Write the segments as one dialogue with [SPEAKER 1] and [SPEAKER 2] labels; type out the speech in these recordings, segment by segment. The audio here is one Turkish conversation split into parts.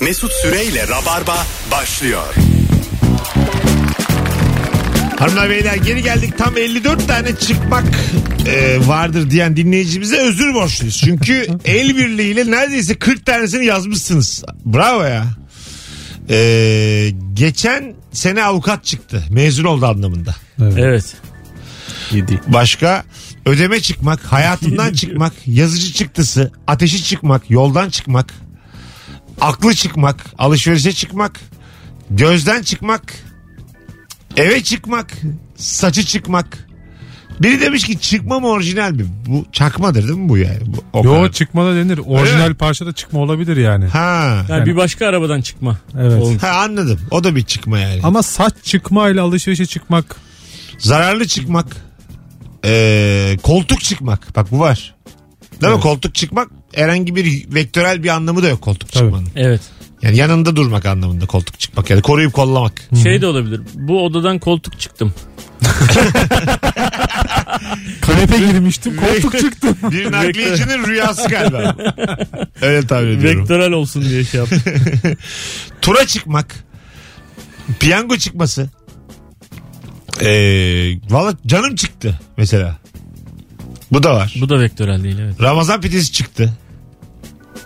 [SPEAKER 1] Mesut Süreyle Rabarba başlıyor.
[SPEAKER 2] Hanımlar beyler geri geldik tam 54 tane çıkmak e, vardır diyen dinleyicimize özür borçluyuz. Çünkü el birliğiyle neredeyse 40 tanesini yazmışsınız. Bravo ya. E, geçen sene avukat çıktı. Mezun oldu anlamında.
[SPEAKER 3] Evet. Yedi.
[SPEAKER 2] Başka ödeme çıkmak, hayatından çıkmak, yazıcı çıktısı, ateşi çıkmak, yoldan çıkmak, aklı çıkmak, alışverişe çıkmak, gözden çıkmak, eve çıkmak, saçı çıkmak. Biri demiş ki çıkma mı orijinal mi? Bu çakmadır değil mi bu yani? Bu, o
[SPEAKER 4] Yo
[SPEAKER 2] kadar.
[SPEAKER 4] çıkma da denir.
[SPEAKER 2] Öyle
[SPEAKER 4] Orijinal parçada çıkma olabilir yani.
[SPEAKER 2] Ha.
[SPEAKER 3] Yani bir başka arabadan çıkma.
[SPEAKER 4] Evet.
[SPEAKER 3] Olmuş.
[SPEAKER 2] ha anladım. O da bir çıkma yani.
[SPEAKER 4] Ama saç çıkma ile alışverişe çıkmak
[SPEAKER 2] Zararlı çıkmak. Ee, koltuk çıkmak. Bak bu var. Değil mi? Koltuk çıkmak herhangi bir vektörel bir anlamı da yok koltuk
[SPEAKER 4] Tabii.
[SPEAKER 2] çıkmanın.
[SPEAKER 3] Evet.
[SPEAKER 2] Yani yanında durmak anlamında koltuk çıkmak. Yani koruyup kollamak.
[SPEAKER 3] Şey de olabilir. Bu odadan koltuk çıktım.
[SPEAKER 4] kanepe girmiştim koltuk çıktı.
[SPEAKER 2] Bir nakliyecinin rüyası galiba. bu. Öyle tahmin ediyorum.
[SPEAKER 3] Vektörel olsun diye şey yaptım.
[SPEAKER 2] Tura çıkmak. Piyango çıkması. Ee, Valla canım çıktı mesela. Bu da var.
[SPEAKER 3] Bu da vektörel değil evet.
[SPEAKER 2] Ramazan pidesi çıktı.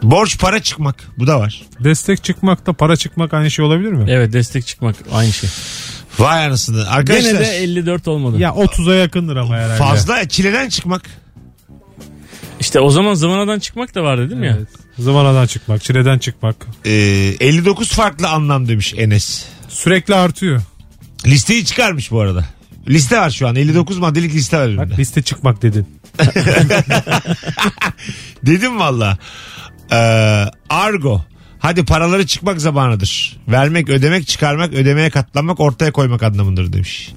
[SPEAKER 2] Borç para çıkmak. Bu da var.
[SPEAKER 4] Destek çıkmak da para çıkmak aynı şey olabilir mi?
[SPEAKER 3] Evet destek çıkmak aynı şey.
[SPEAKER 2] Vay anasını.
[SPEAKER 3] Gene
[SPEAKER 2] Arkadaşlar
[SPEAKER 3] de 54 olmadı.
[SPEAKER 4] Ya 30'a yakındır ama herhalde.
[SPEAKER 2] fazla çileden çıkmak.
[SPEAKER 3] İşte o zaman zamanadan çıkmak da vardı değil mi ya?
[SPEAKER 4] Evet. Zamanadan çıkmak, çileden çıkmak.
[SPEAKER 2] Ee, 59 farklı anlam demiş Enes.
[SPEAKER 4] Sürekli artıyor.
[SPEAKER 2] Listeyi çıkarmış bu arada. Liste var şu an. 59 maddelik liste var
[SPEAKER 4] Bak
[SPEAKER 2] önümde.
[SPEAKER 4] liste çıkmak dedin.
[SPEAKER 2] Dedim valla. Ee, argo. Hadi paraları çıkmak zamanıdır. Vermek, ödemek, çıkarmak, ödemeye katlanmak, ortaya koymak anlamındır demiş.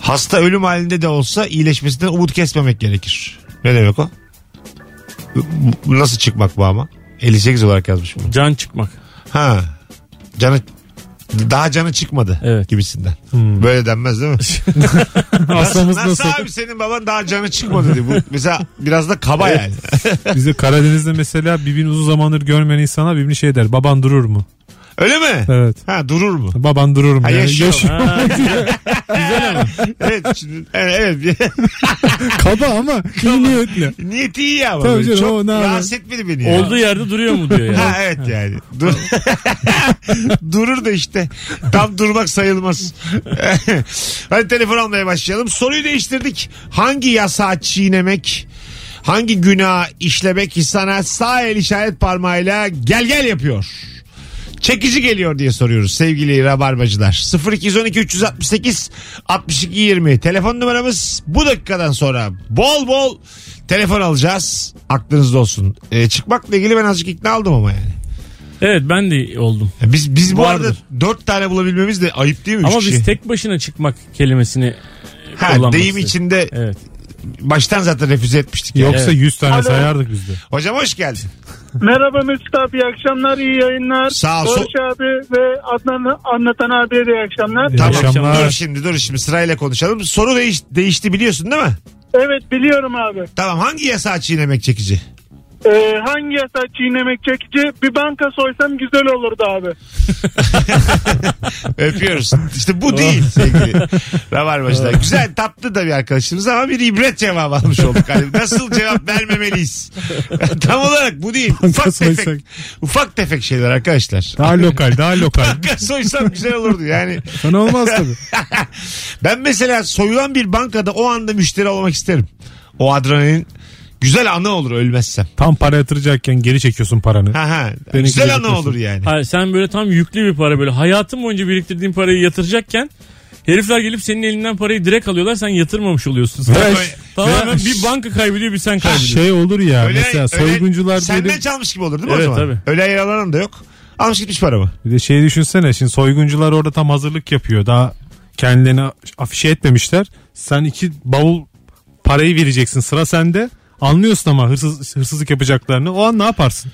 [SPEAKER 2] Hasta ölüm halinde de olsa iyileşmesinden umut kesmemek gerekir. Ne demek o? Bu- Nasıl çıkmak bu ama? 58 olarak yazmış bunu.
[SPEAKER 3] Can çıkmak.
[SPEAKER 2] Ha. Canı daha canı çıkmadı
[SPEAKER 3] Evet.
[SPEAKER 2] gibisinden. Böyle denmez değil mi?
[SPEAKER 4] Hastamız
[SPEAKER 2] nasıl,
[SPEAKER 4] Hmm. nasıl?
[SPEAKER 2] abi senin baban daha canı çıkmadı diye. Bu mesela biraz da kaba yani.
[SPEAKER 4] Bize Karadeniz'de mesela birbirini uzun zamandır görmeyen insana birbirini şey der. Baban durur mu?
[SPEAKER 2] Öyle mi?
[SPEAKER 4] Evet.
[SPEAKER 2] Ha durur mu?
[SPEAKER 4] Baban durur mu?
[SPEAKER 2] Ha,
[SPEAKER 4] Yani
[SPEAKER 2] yaşıyor.
[SPEAKER 4] yaş-
[SPEAKER 2] evet, şimdi, evet, evet.
[SPEAKER 4] Kaba ama iyi niyetli.
[SPEAKER 2] Niyeti iyi ama.
[SPEAKER 4] Tabii
[SPEAKER 2] böyle.
[SPEAKER 4] canım,
[SPEAKER 2] Çok
[SPEAKER 4] o ne haber?
[SPEAKER 2] rahatsız etmedi beni ya.
[SPEAKER 3] Olduğu yerde duruyor mu diyor yani.
[SPEAKER 2] Ha evet yani. Dur. Durur da işte. Tam durmak sayılmaz. Hadi telefon almaya başlayalım. Soruyu değiştirdik. Hangi yasağı çiğnemek, hangi günah işlemek sana sağ el işaret parmağıyla gel gel yapıyor? Çekici geliyor diye soruyoruz sevgili rabarbacılar. 0212 368 62 20 telefon numaramız bu dakikadan sonra bol bol telefon alacağız. Aklınızda olsun. Ee, çıkmakla ilgili ben azıcık ikna aldım ama yani.
[SPEAKER 3] Evet ben de oldum.
[SPEAKER 2] Ya Biz biz bu
[SPEAKER 3] Vardır.
[SPEAKER 2] arada dört tane bulabilmemiz de ayıp değil mi?
[SPEAKER 3] Ama
[SPEAKER 2] Üç kişi.
[SPEAKER 3] biz tek başına çıkmak kelimesini
[SPEAKER 2] ha,
[SPEAKER 3] kullanmak
[SPEAKER 2] deyim
[SPEAKER 3] istedik.
[SPEAKER 2] içinde
[SPEAKER 3] Evet.
[SPEAKER 2] baştan zaten refüze etmiştik. yani.
[SPEAKER 4] Yoksa
[SPEAKER 3] Evet.
[SPEAKER 4] 100 tane
[SPEAKER 5] Alo.
[SPEAKER 4] sayardık biz de.
[SPEAKER 2] Hocam hoş geldin.
[SPEAKER 5] Merhaba Mesut abi iyi akşamlar iyi yayınlar.
[SPEAKER 2] Sağ ol.
[SPEAKER 5] Barış abi ve Adnan anlatan abiye de iyi akşamlar.
[SPEAKER 4] İyi
[SPEAKER 2] Tamam.
[SPEAKER 4] akşamlar.
[SPEAKER 2] Dur şimdi dur şimdi sırayla konuşalım. Soru değiş, değişti biliyorsun değil mi?
[SPEAKER 5] Evet biliyorum abi.
[SPEAKER 2] Tamam hangi yasağı çiğnemek çekici?
[SPEAKER 5] Ee, hangi yasa çiğnemek çekici? Bir banka soysam güzel olurdu abi.
[SPEAKER 2] Öpüyoruz. İşte bu değil sevgili Rabarbacılar. Güzel tatlı da bir arkadaşımız ama bir ibret cevabı almış olduk. Hani nasıl cevap vermemeliyiz? Tam olarak bu değil. Ufak
[SPEAKER 4] soysak.
[SPEAKER 2] tefek, ufak tefek şeyler arkadaşlar.
[SPEAKER 4] Daha lokal daha lokal.
[SPEAKER 2] Banka soysam güzel olurdu yani.
[SPEAKER 4] Sana olmaz tabii.
[SPEAKER 2] Ben mesela soyulan bir bankada o anda müşteri olmak isterim. O adrenalin güzel anı olur ölmezsem.
[SPEAKER 4] Tam para yatıracakken geri çekiyorsun paranı.
[SPEAKER 2] Ha ha.
[SPEAKER 4] Beni
[SPEAKER 2] güzel anı
[SPEAKER 4] güldürtüyorsun.
[SPEAKER 2] olur yani.
[SPEAKER 3] Hayır, sen böyle tam yüklü bir para böyle hayatın boyunca biriktirdiğin parayı yatıracakken herifler gelip senin elinden parayı direkt alıyorlar sen yatırmamış oluyorsun.
[SPEAKER 4] Ve-
[SPEAKER 2] Böyle-
[SPEAKER 3] Tamamen
[SPEAKER 4] ve-
[SPEAKER 3] bir banka kaybediyor bir sen kaybediyorsun.
[SPEAKER 4] şey olur ya
[SPEAKER 2] Öyle-
[SPEAKER 4] mesela
[SPEAKER 2] öyle
[SPEAKER 4] soyguncular
[SPEAKER 2] Senden
[SPEAKER 4] diyelim.
[SPEAKER 2] çalmış gibi olur değil mi
[SPEAKER 3] Evet,
[SPEAKER 2] o zaman?
[SPEAKER 3] tabii.
[SPEAKER 2] Öyle yer alan da yok. Almış gitmiş paramı.
[SPEAKER 4] Bir de şey düşünsene şimdi soyguncular orada tam hazırlık yapıyor. Daha kendilerini afişe etmemişler. Sen iki bavul parayı vereceksin sıra sende. Anlıyorsun ama hırsız, hırsızlık yapacaklarını. O an ne yaparsın?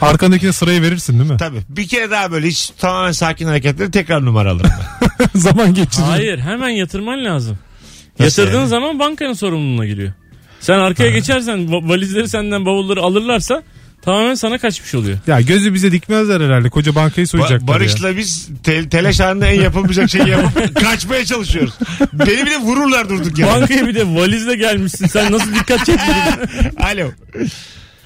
[SPEAKER 4] Arkandakine sırayı verirsin değil mi?
[SPEAKER 2] Tabii. Bir kere daha böyle hiç tamamen sakin hareketleri tekrar numara alırım. ben.
[SPEAKER 4] Zaman geçirir.
[SPEAKER 3] Hayır hemen yatırman lazım.
[SPEAKER 2] Nasıl
[SPEAKER 3] Yatırdığın
[SPEAKER 2] yani?
[SPEAKER 3] zaman bankanın sorumluluğuna giriyor. Sen arkaya geçersen va- valizleri senden bavulları alırlarsa tamamen sana kaçmış oluyor.
[SPEAKER 4] Ya gözü bize dikmezler herhalde. Koca bankayı soyacaklar
[SPEAKER 2] Ba-
[SPEAKER 4] ya.
[SPEAKER 2] Barış'la biz te- telaş halinde en yapamayacak şeyi yapıp kaçmaya çalışıyoruz. Beni bile vururlar durduk yere.
[SPEAKER 3] Bankaya bir de valizle gelmişsin. Sen nasıl dikkat çekmedin?
[SPEAKER 2] Alo.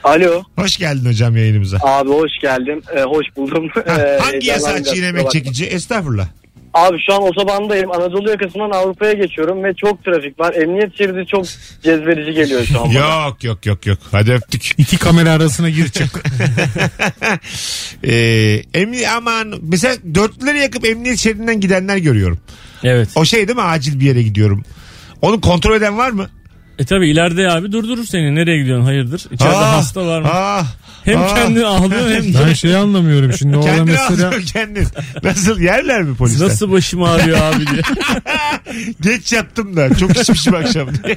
[SPEAKER 5] Alo
[SPEAKER 2] Hoş geldin hocam yayınımıza.
[SPEAKER 5] abi hoş geldin. Ee, hoş buldum. Ee,
[SPEAKER 2] Hangi yasa
[SPEAKER 5] heyecanlandım.
[SPEAKER 2] çiğnemek çekici? Estağfurullah.
[SPEAKER 5] Abi şu an otobandayım. Anadolu yakasından Avrupa'ya geçiyorum ve çok trafik var. Emniyet şeridi çok cezbedici geliyor şu an. bana.
[SPEAKER 2] Yok yok yok yok. Hadi öptük.
[SPEAKER 4] İki kamera arasına gir çık.
[SPEAKER 2] Ee, emni aman mesela dörtlüleri yakıp emniyet şeridinden gidenler görüyorum.
[SPEAKER 3] evet.
[SPEAKER 2] O şey değil mi acil bir yere gidiyorum. Onu kontrol eden var mı?
[SPEAKER 3] E tabi ileride abi durdurur seni. Nereye gidiyorsun? Hayırdır? İçeride
[SPEAKER 2] Aa,
[SPEAKER 3] hasta var mı?
[SPEAKER 2] Ah,
[SPEAKER 3] hem
[SPEAKER 2] ah.
[SPEAKER 3] kendini ağlıyor hem
[SPEAKER 4] ben şeyi anlamıyorum şimdi. Orada
[SPEAKER 2] Kendini
[SPEAKER 4] mesela
[SPEAKER 2] alıyor kendin. Nasıl yerler mi polisler?
[SPEAKER 3] Nasıl başım ağrıyor abi diye.
[SPEAKER 2] Geç yattım da çok içmişim akşam diye.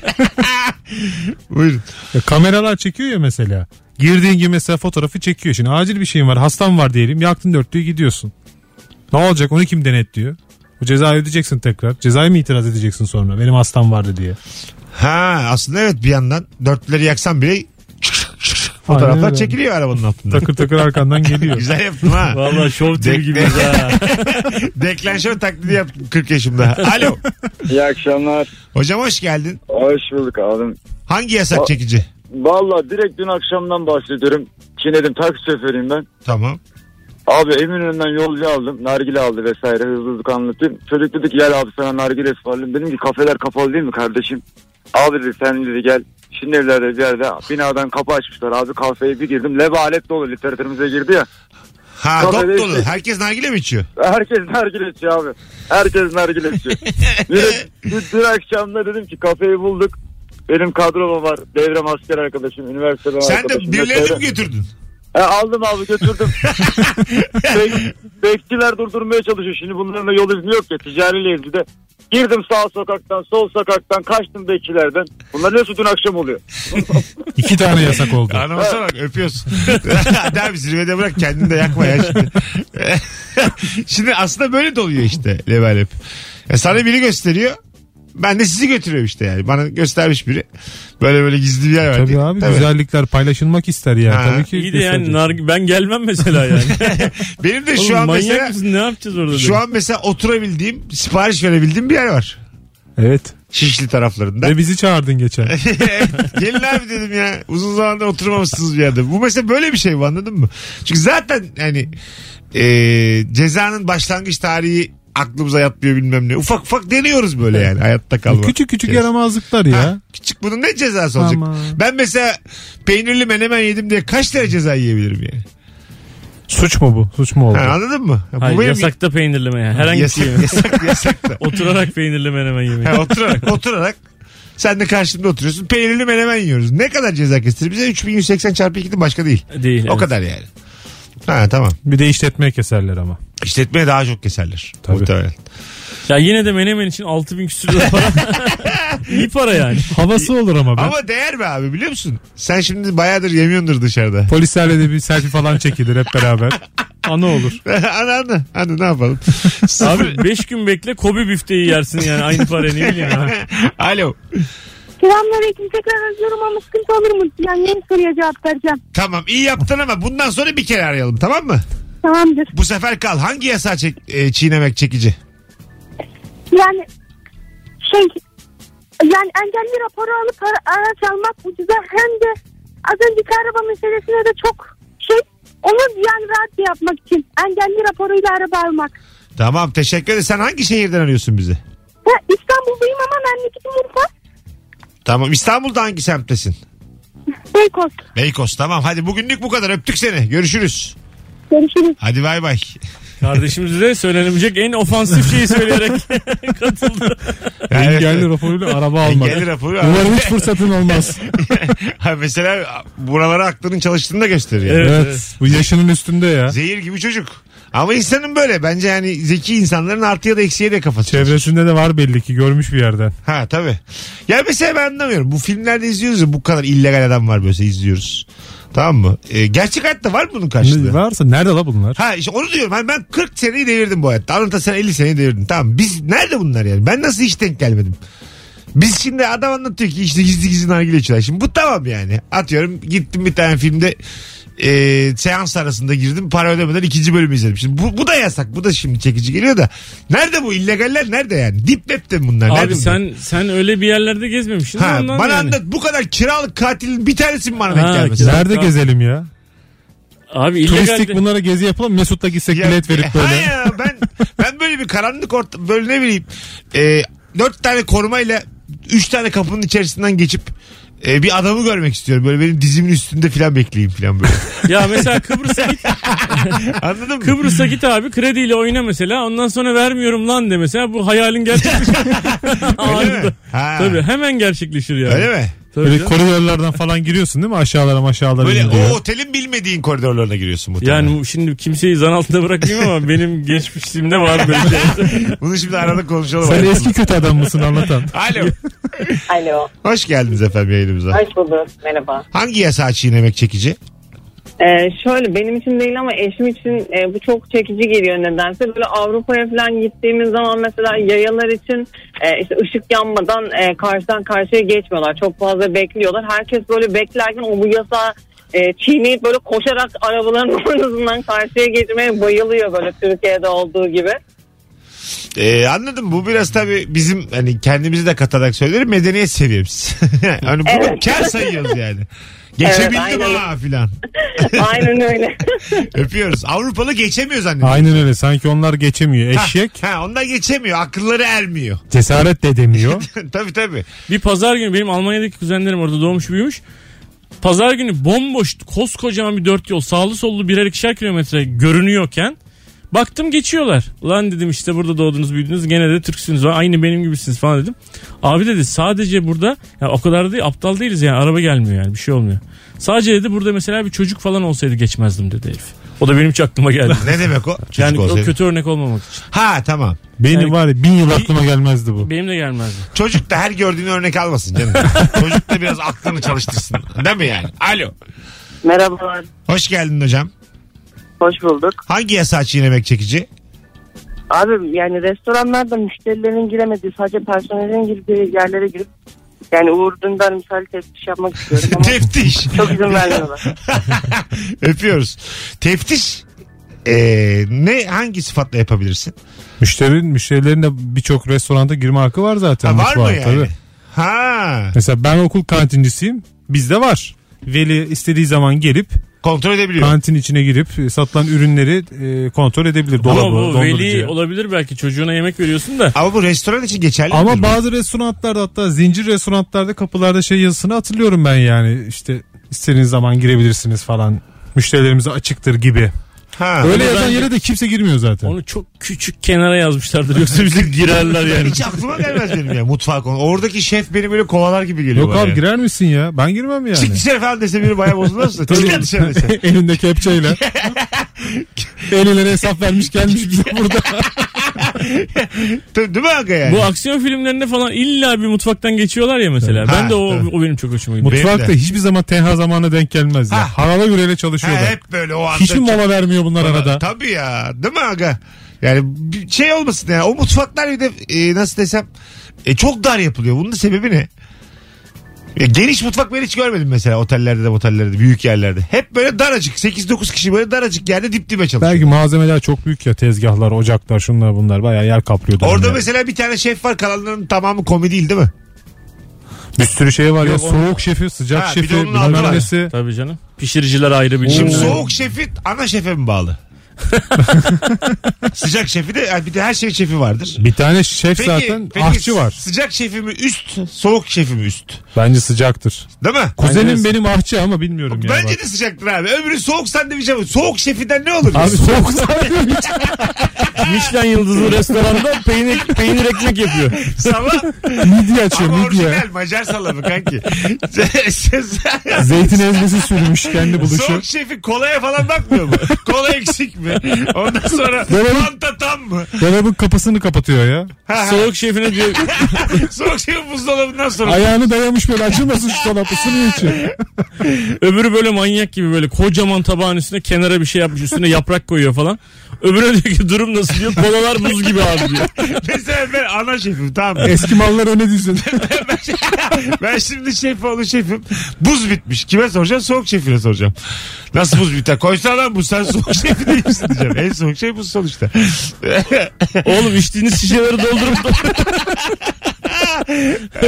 [SPEAKER 2] Buyurun.
[SPEAKER 4] Ya E, kameralar çekiyor ya mesela. Girdiğin gibi mesela fotoğrafı çekiyor. Şimdi acil bir şeyin var hastan var diyelim. Yaktın dörtlüğü gidiyorsun. Ne olacak onu kim denetliyor? Bu cezayı ödeyeceksin tekrar. Cezayı mı itiraz edeceksin sonra? Benim hastam vardı diye.
[SPEAKER 2] Ha aslında evet bir yandan dörtlüleri yaksan bile fotoğraflar
[SPEAKER 4] öyle.
[SPEAKER 2] çekiliyor arabanın altında.
[SPEAKER 4] Takır takır arkandan geliyor.
[SPEAKER 2] Güzel yaptım ha.
[SPEAKER 3] Vallahi şov tv gibiyiz ha.
[SPEAKER 2] Deklanşör taklidi yaptım 40 yaşımda. Alo.
[SPEAKER 6] İyi akşamlar.
[SPEAKER 2] Hocam hoş geldin.
[SPEAKER 6] Hoş bulduk abim.
[SPEAKER 2] Hangi yasak çekici?
[SPEAKER 6] Valla direkt dün akşamdan bahsediyorum. Çiğnedim taksi şoförüyüm ben.
[SPEAKER 2] Tamam.
[SPEAKER 6] Abi Eminönü'nden yolcu aldım. Nargile aldı vesaire. Hızlı hızlı anlatayım. Çocuk dedi ki gel abi sana nargile ısmarlayayım. Dedim ki kafeler kapalı değil mi kardeşim? Abi dedi sen dedi gel. Şimdi evlerde bir yerde binadan kapı açmışlar abi kafeye bir girdim. Levalet dolu literatürümüze girdi ya.
[SPEAKER 2] Ha
[SPEAKER 6] Tabii,
[SPEAKER 2] dop
[SPEAKER 6] evet.
[SPEAKER 2] dolu. Herkes nargile mi içiyor?
[SPEAKER 6] Herkes nargile içiyor abi. Herkes nargile içiyor. Direkt- dün, dün akşam da dedim ki kafeyi bulduk. Benim kadroma var. Devrem asker arkadaşım, üniversiteden
[SPEAKER 2] Sen de
[SPEAKER 6] arkadaşım.
[SPEAKER 2] birilerini
[SPEAKER 6] vesaire.
[SPEAKER 2] mi götürdün?
[SPEAKER 6] He, aldım abi götürdüm. Bek- bekçiler durdurmaya çalışıyor. Şimdi bunların da yol izni yok ya. Ticariliyiz bir de. Girdim sağ sokaktan, sol sokaktan, kaçtım bekçilerden. Bunlar nasıl dün akşam oluyor?
[SPEAKER 4] İki tane yasak oldu.
[SPEAKER 2] Anonsa bak öpüyorsun. Hadi abi zirvede bırak kendini de yakma ya şimdi. şimdi aslında böyle doluyor işte level hep. E sana biri gösteriyor. Ben de sizi götürüyorum işte yani. Bana göstermiş biri. Böyle böyle gizli bir yer var.
[SPEAKER 4] Tabii
[SPEAKER 2] diye.
[SPEAKER 4] abi güzellikler paylaşılmak ister ya.
[SPEAKER 2] Ha.
[SPEAKER 4] Tabii ki.
[SPEAKER 3] İyi de yani narg- ben gelmem mesela yani.
[SPEAKER 2] Benim de
[SPEAKER 3] Oğlum,
[SPEAKER 2] şu an
[SPEAKER 3] manyak
[SPEAKER 2] mesela
[SPEAKER 3] mısın? Ne yapacağız orada?
[SPEAKER 2] şu
[SPEAKER 3] dedim.
[SPEAKER 2] an mesela oturabildiğim, sipariş verebildiğim bir yer var.
[SPEAKER 4] Evet.
[SPEAKER 2] Şişli taraflarında.
[SPEAKER 4] Ve bizi çağırdın geçen.
[SPEAKER 2] Gelin abi dedim ya. Uzun zamandır oturmamışsınız bir yerde. Bu mesela böyle bir şey bu anladın mı? Çünkü zaten yani e, cezanın başlangıç tarihi aklımıza yatmıyor bilmem ne. Ufak ufak deniyoruz böyle yani hayatta kalma.
[SPEAKER 4] küçük küçük
[SPEAKER 2] Evet.
[SPEAKER 4] yaramazlıklar ya.
[SPEAKER 2] Ha, küçük bunun ne cezası olacak?
[SPEAKER 4] Aman.
[SPEAKER 2] Ben mesela peynirli menemen yedim diye kaç tane ceza yiyebilirim yani?
[SPEAKER 4] Suç mu bu? Suç mu oldu?
[SPEAKER 2] Ha, anladın mı? Ha, Bu
[SPEAKER 3] Hayır,
[SPEAKER 2] benim-
[SPEAKER 3] yasakta peynirleme yani. Herhangi bir şey
[SPEAKER 2] yasak, yasak,
[SPEAKER 3] yeme.
[SPEAKER 2] yasak da.
[SPEAKER 3] Oturarak peynirleme hemen yemeği.
[SPEAKER 2] Ha, oturarak, oturarak sen de karşımda oturuyorsun. Peynirli menemen yiyoruz. Ne kadar ceza kestir? Bize 3180 çarpı 2'de başka değil.
[SPEAKER 3] Değil.
[SPEAKER 2] O
[SPEAKER 3] evet.
[SPEAKER 2] kadar yani. Ha tamam.
[SPEAKER 4] Bir de işletmeye keserler ama.
[SPEAKER 2] İşletmeye daha çok keserler.
[SPEAKER 4] Tabii.
[SPEAKER 2] Muhtemelen.
[SPEAKER 3] Ya yine de menemen için 6000 küsür lira para. İyi para yani.
[SPEAKER 4] Havası olur ama ben.
[SPEAKER 2] Ama değer mi abi biliyor musun? Sen şimdi bayağıdır yemiyordur dışarıda.
[SPEAKER 4] Polislerle de bir selfie falan çekilir hep beraber. Ana olur.
[SPEAKER 2] ana ana. Ana ne yapalım? Sıfır.
[SPEAKER 3] Abi 5 gün bekle Kobe büfteyi yersin yani aynı para ne bileyim ha.
[SPEAKER 2] Alo.
[SPEAKER 7] Selamünaleyküm. Tekrar özlüyorum ama sıkıntı olur mu? Yani yeni soruya cevap vereceğim.
[SPEAKER 2] Tamam iyi yaptın ama bundan sonra bir kere arayalım tamam mı?
[SPEAKER 7] Tamamdır.
[SPEAKER 2] Bu sefer kal. Hangi yasa çek, e, çiğnemek çekici?
[SPEAKER 7] Yani şey yani engelli raporu alıp ara- araç almak ucuza hem de az önceki araba meselesine de çok şey onu yani rahat yapmak için engelli raporuyla araba almak.
[SPEAKER 2] Tamam teşekkür ederim. Sen hangi şehirden arıyorsun bizi?
[SPEAKER 7] Ha, İstanbul'dayım ama memleketim Urfa.
[SPEAKER 2] Tamam İstanbul'da hangi semttesin?
[SPEAKER 7] Beykoz.
[SPEAKER 2] Beykoz tamam hadi bugünlük bu kadar öptük seni görüşürüz.
[SPEAKER 7] Görüşürüz.
[SPEAKER 2] Hadi bay bay.
[SPEAKER 3] Kardeşimiz de söylenebilecek en ofansif şeyi söyleyerek katıldı.
[SPEAKER 2] Evet,
[SPEAKER 4] Engelli
[SPEAKER 2] evet.
[SPEAKER 4] raporuyla araba almak.
[SPEAKER 2] Engelli raporu.
[SPEAKER 4] Umarım hiç fırsatın olmaz.
[SPEAKER 2] Ha, mesela buralara aklının çalıştığını da gösteriyor.
[SPEAKER 3] Evet,
[SPEAKER 4] evet,
[SPEAKER 3] evet.
[SPEAKER 4] Bu yaşının üstünde ya.
[SPEAKER 2] Zehir gibi çocuk. Ama insanın böyle. Bence yani zeki insanların artıya da eksiye de kafası.
[SPEAKER 4] Çevresinde de var belli ki görmüş bir yerden.
[SPEAKER 2] Ha tabii. Ya mesela ben anlamıyorum. Bu filmlerde izliyoruz ya bu kadar illegal adam var böyle izliyoruz. Tamam mı? Ee, gerçek hayatta var mı bunun karşılığı?
[SPEAKER 4] Varsa nerede la bunlar?
[SPEAKER 2] Ha işte onu diyorum. Hani ben 40 seneyi devirdim bu hayatta. Anlatan sen 50 seneyi devirdin. Tamam biz nerede bunlar yani? Ben nasıl hiç denk gelmedim? Biz şimdi adam anlatıyor ki işte gizli gizli nargile içiyorlar. Şimdi bu tamam yani. Atıyorum gittim bir tane filmde e, seans arasında girdim. Para ödemeden ikinci bölümü izledim. Şimdi bu, bu da yasak. Bu da şimdi çekici geliyor da. Nerede bu? illegaller nerede yani? Deep web'te mi bunlar? Nerede
[SPEAKER 3] Abi
[SPEAKER 2] bunlar?
[SPEAKER 3] sen sen öyle bir yerlerde gezmemişsin.
[SPEAKER 2] Ha,
[SPEAKER 3] ondan
[SPEAKER 2] bana
[SPEAKER 3] yani.
[SPEAKER 2] anlat bu kadar kiralık katilin bir tanesi mi bana
[SPEAKER 3] Ha,
[SPEAKER 2] denk gelmesi?
[SPEAKER 3] kiralık-
[SPEAKER 4] Nerede
[SPEAKER 3] Tamam.
[SPEAKER 4] gezelim ya?
[SPEAKER 3] Abi illegal.
[SPEAKER 4] Turistik bunlara gezi yapalım. Mesut'la gitsek
[SPEAKER 2] Ya-
[SPEAKER 4] bilet verip
[SPEAKER 2] Ha
[SPEAKER 4] böyle.
[SPEAKER 2] ya, ben ben böyle bir karanlık orta böyle ne bileyim e, dört tane korumayla üç tane kapının içerisinden geçip e, bir adamı görmek istiyorum. Böyle benim dizimin üstünde filan bekleyeyim filan böyle.
[SPEAKER 3] Ya mesela Kıbrıs'a git.
[SPEAKER 2] Anladın mı?
[SPEAKER 3] Kıbrıs'a git abi krediyle oyna mesela. Ondan sonra vermiyorum lan de mesela. Bu hayalin gerçekleşir.
[SPEAKER 2] Öyle mi?
[SPEAKER 3] Anında.
[SPEAKER 2] Ha.
[SPEAKER 3] Tabii hemen gerçekleşir yani.
[SPEAKER 2] Öyle mi?
[SPEAKER 3] Tabii
[SPEAKER 4] Böyle
[SPEAKER 3] canım.
[SPEAKER 4] koridorlardan falan giriyorsun değil mi? Aşağılara aşağılara
[SPEAKER 2] Böyle
[SPEAKER 4] iniliyor.
[SPEAKER 2] o otelin bilmediğin koridorlarına giriyorsun muhtemelen.
[SPEAKER 3] yani bu- şimdi kimseyi zan altında bırakmayayım ama benim geçmişimde var böyle şey.
[SPEAKER 2] Bunu şimdi arada konuşalım.
[SPEAKER 4] Sen eski kötü adam mısın anlatan?
[SPEAKER 2] Alo.
[SPEAKER 8] Alo.
[SPEAKER 2] Hoş geldiniz efendim yayınımıza.
[SPEAKER 8] Hoş bulduk. Merhaba.
[SPEAKER 2] Hangi yasağı çiğnemek çekici?
[SPEAKER 8] Ee, şöyle benim için değil ama eşim için e, bu çok çekici geliyor nedense. Böyle Avrupa'ya falan gittiğimiz zaman mesela yayalar için e, işte ışık yanmadan e, karşıdan karşıya geçmiyorlar. Çok fazla bekliyorlar. Herkes böyle beklerken o bu yasağı e, çiğneyip böyle koşarak arabaların ortasından karşıya geçmeye bayılıyor böyle Türkiye'de olduğu gibi.
[SPEAKER 2] Ee, anladım bu biraz tabii bizim hani kendimizi de katarak söylerim medeniyet seviyemiz. hani bunu
[SPEAKER 8] Evet.
[SPEAKER 2] kar sayıyoruz yani. Geçebildim
[SPEAKER 8] aynen.
[SPEAKER 2] ha filan.
[SPEAKER 8] Aynen öyle.
[SPEAKER 2] Öpüyoruz. Avrupalı geçemiyor zannediyor.
[SPEAKER 4] Aynen öyle. Sanki onlar geçemiyor. Eşek
[SPEAKER 2] Ha, ha, onlar geçemiyor. Akılları ermiyor.
[SPEAKER 4] cesaret de edemiyor.
[SPEAKER 2] tabii tabii.
[SPEAKER 3] Bir pazar günü benim Almanya'daki kuzenlerim orada doğmuş büyümüş. Pazar günü bomboş koskocaman bir dört yol sağlı sollu birer ikişer kilometre görünüyorken baktım geçiyorlar. Lan dedim işte burada doğdunuz büyüdünüz gene de Türksünüz var aynı benim gibisiniz falan dedim. Abi dedi sadece burada ya o kadar da değil, aptal değiliz yani araba gelmiyor yani bir şey olmuyor. Sadece dedi burada mesela bir çocuk falan olsaydı geçmezdim dedi herif. O da benim hiç aklıma geldi.
[SPEAKER 2] Ne demek o? Çocuk
[SPEAKER 3] yani o
[SPEAKER 2] olsaydı.
[SPEAKER 3] kötü örnek olmamak için.
[SPEAKER 2] Ha tamam.
[SPEAKER 4] Benim
[SPEAKER 3] Yani-
[SPEAKER 4] var ya bin yıl aklıma gelmezdi bu.
[SPEAKER 3] Benim de gelmezdi.
[SPEAKER 2] Çocuk da her gördüğünü örnek almasın canım. Çocuk da biraz aklını çalıştırsın. Değil mi yani? Alo.
[SPEAKER 8] Merhabalar.
[SPEAKER 2] Hoş geldin hocam.
[SPEAKER 8] Hoş bulduk.
[SPEAKER 2] Hangi yasağı çiğnemek çekici?
[SPEAKER 8] Abi yani restoranlarda müşterilerin giremediği sadece personelin girdiği yerlere girip yani Uğur Dündar misali teftiş yapmak istiyorum ama
[SPEAKER 2] Teftiş.
[SPEAKER 8] çok izin vermiyorlar.
[SPEAKER 2] Öpüyoruz. Teftiş ee, ne hangi sıfatla yapabilirsin?
[SPEAKER 4] Müşterinin müşterilerin de birçok restoranda girme hakkı var zaten.
[SPEAKER 2] Ha, var mı
[SPEAKER 4] mutfağa,
[SPEAKER 2] yani?
[SPEAKER 4] tabii.
[SPEAKER 2] Ha
[SPEAKER 4] Mesela ben okul kantincisiyim. Bizde var. Veli istediği zaman gelip
[SPEAKER 2] kontrol edebiliyor.
[SPEAKER 4] kantin içine girip e, satılan ürünleri e, kontrol edebilir. Dolabı,
[SPEAKER 3] Ama bu veli
[SPEAKER 4] dondurucuya.
[SPEAKER 3] olabilir belki çocuğuna yemek veriyorsun da
[SPEAKER 2] Ama bu restoran için geçerli midir
[SPEAKER 4] Ama
[SPEAKER 2] bu?
[SPEAKER 4] bazı restoranlarda hatta zincir restoranlarda kapılarda şey yazısını hatırlıyorum ben yani işte istediğiniz zaman girebilirsiniz falan. Müşterilerimize açıktır gibi.
[SPEAKER 2] ha.
[SPEAKER 4] Öyle
[SPEAKER 3] Ama
[SPEAKER 4] yazan
[SPEAKER 3] bence-
[SPEAKER 4] yere de kimse girmiyor zaten.
[SPEAKER 3] Onu çok küçük kenara yazmışlardır yoksa bize girerler yani.
[SPEAKER 2] Hiç aklıma gelmez benim ya mutfağa konu. Oradaki şef beni böyle kovalar gibi geliyor.
[SPEAKER 4] Yok
[SPEAKER 2] bana
[SPEAKER 4] abi
[SPEAKER 2] yani.
[SPEAKER 4] girer misin ya? Ben girmem yani.
[SPEAKER 2] Çık dışarı falan dese biri bayağı bozulmaz da. Çık lan dışarı dese.
[SPEAKER 4] Elinde kepçeyle. Eline hesap vermiş gelmiş bize burada.
[SPEAKER 2] Tabii, Değil mi aga yani?
[SPEAKER 3] Bu aksiyon filmlerinde falan illa bir mutfaktan geçiyorlar ya mesela.
[SPEAKER 2] Ha,
[SPEAKER 3] ben de o,
[SPEAKER 2] evet.
[SPEAKER 3] o benim çok hoşuma gidiyor.
[SPEAKER 4] Mutfakta hiçbir zaman tenha zamana denk gelmez ya.
[SPEAKER 2] Ha.
[SPEAKER 4] Harala güreyle
[SPEAKER 2] ha,
[SPEAKER 4] çalışıyorlar.
[SPEAKER 2] hep böyle o anda.
[SPEAKER 4] Hiç mi mola vermiyor bunlar arada?
[SPEAKER 2] Tabii ya. Değil mi aga? Yani bir şey olmasın yani. O mutfaklar bir de e, nasıl desem e, çok dar yapılıyor. Bunun da sebebi ne? Ya geniş mutfak ben hiç görmedim mesela otellerde de otellerde büyük yerlerde. Hep böyle daracık 8-9 kişi böyle daracık yerde dip dibe çalışıyor.
[SPEAKER 4] Belki malzemeler çok büyük ya tezgahlar, ocaklar, şunlar bunlar bayağı yer Hani kaplıyor.
[SPEAKER 2] Orada
[SPEAKER 4] yani.
[SPEAKER 2] mesela bir tane şef var kalanların tamamı komedi değil değil mi?
[SPEAKER 4] bir sürü şey var ya
[SPEAKER 3] Yok,
[SPEAKER 4] soğuk şefi, sıcak
[SPEAKER 2] Ha, bir de
[SPEAKER 4] şefi,
[SPEAKER 2] onun adı var.
[SPEAKER 4] bilmem nesi.
[SPEAKER 3] Tabii canım. Pişiriciler ayrı bir şey.
[SPEAKER 2] Şimdi
[SPEAKER 3] cümle.
[SPEAKER 2] soğuk şefi ana şefe mi bağlı? sıcak şefi de yani bir de her şey şefi vardır.
[SPEAKER 4] Bir tane şef zaten
[SPEAKER 2] peki
[SPEAKER 4] ahçı var.
[SPEAKER 2] Sıcak şefi mi üst, soğuk şefi mi üst?
[SPEAKER 4] Bence sıcaktır.
[SPEAKER 2] Değil mi?
[SPEAKER 4] Kuzenim benim ahçı ama bilmiyorum ya.
[SPEAKER 2] Bence
[SPEAKER 4] bak.
[SPEAKER 2] de sıcaktır abi. Öbürü soğuk sandviç ama soğuk şefinden ne olur?
[SPEAKER 4] Abi soğuk zaten.
[SPEAKER 3] Michelin yıldızlı restoranda peynir, peynir ekmek yapıyor.
[SPEAKER 2] Salam.
[SPEAKER 4] midye açıyor
[SPEAKER 2] ama
[SPEAKER 4] midye.
[SPEAKER 2] orijinal Macar salamı kanki.
[SPEAKER 4] Zeytin ezmesi sürmüş kendi buluşu.
[SPEAKER 2] soğuk şefi kolaya falan bakmıyor mu? Kola eksik mi? mi? Ondan sonra
[SPEAKER 4] Böyle-
[SPEAKER 2] panta tam mı?
[SPEAKER 4] Dolabın kapısını kapatıyor ya.
[SPEAKER 3] Soğuk şefine diyor
[SPEAKER 2] Soğuk şey buzdolabından sonra.
[SPEAKER 4] Ayağını dayamış böyle açılmasın şu dolap ısınıyor içi.
[SPEAKER 3] öbürü böyle manyak gibi böyle kocaman tabağın üstüne kenara bir şey yapmış üstüne yaprak koyuyor falan. Öbürü diyor ki durum nasıl diyor kolalar buz gibi abi diyor.
[SPEAKER 2] Mesela ben ana şefim tamam mı?
[SPEAKER 4] Eski mallar öne dizildi.
[SPEAKER 2] Ben şimdi şef oğlu şefim. Buz bitmiş. Kime soracağım? Soğuk şefine soracağım. Nasıl buz biter? Koysana lan bu sen soğuk şefi değil misin diyeceğim. En soğuk şey buz sonuçta.
[SPEAKER 3] Oğlum içtiğiniz şişeleri doldurup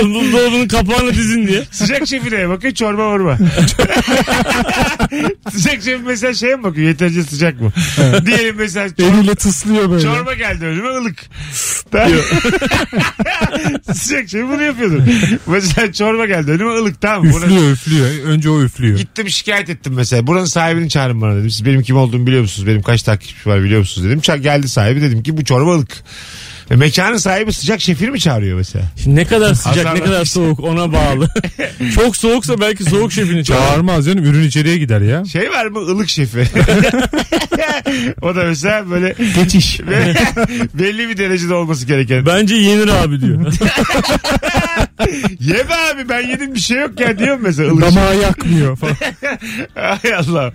[SPEAKER 3] buzdolabının kapağını dizin diye.
[SPEAKER 2] Sıcak şefine bakıyor çorba vurma. sıcak şef mesela şeye mi bakıyor? Yeterince sıcak mı? Diyelim mesela çorba-
[SPEAKER 4] Eliyle tıslıyor böyle.
[SPEAKER 2] Çorba geldi önüme ılık. Tamam. Sıcak şey bunu yapıyordum. Mesela çorba geldi önüme ılık tamam. mı? Buna-
[SPEAKER 4] Üflüyor üflüyor. Önce o üflüyor.
[SPEAKER 2] Gittim şikayet ettim mesela. Buranın sahibini çağırın bana dedim. Siz benim kim olduğumu biliyor musunuz? Benim kaç takipçim var biliyor musunuz dedim. Ça- geldi sahibi dedim ki bu çorbalık. E, mekanın sahibi sıcak şefir mi çağırıyor mesela?
[SPEAKER 3] Şimdi ne kadar sıcak ne
[SPEAKER 2] Azarlar.
[SPEAKER 3] kadar soğuk ona bağlı. Çok soğuksa belki soğuk şefini çağır.
[SPEAKER 4] Çağırmaz canım ürün içeriye gider ya.
[SPEAKER 2] Şey var mı ılık şefi? o da mesela böyle
[SPEAKER 4] Geçiş.
[SPEAKER 2] belli bir derecede olması gereken.
[SPEAKER 3] Bence yenir abi diyor.
[SPEAKER 2] Ye be abi ben yedim bir şey yok ya diyorum mesela ılık şef.
[SPEAKER 4] Damağı yakmıyor falan.
[SPEAKER 2] Ay Allah.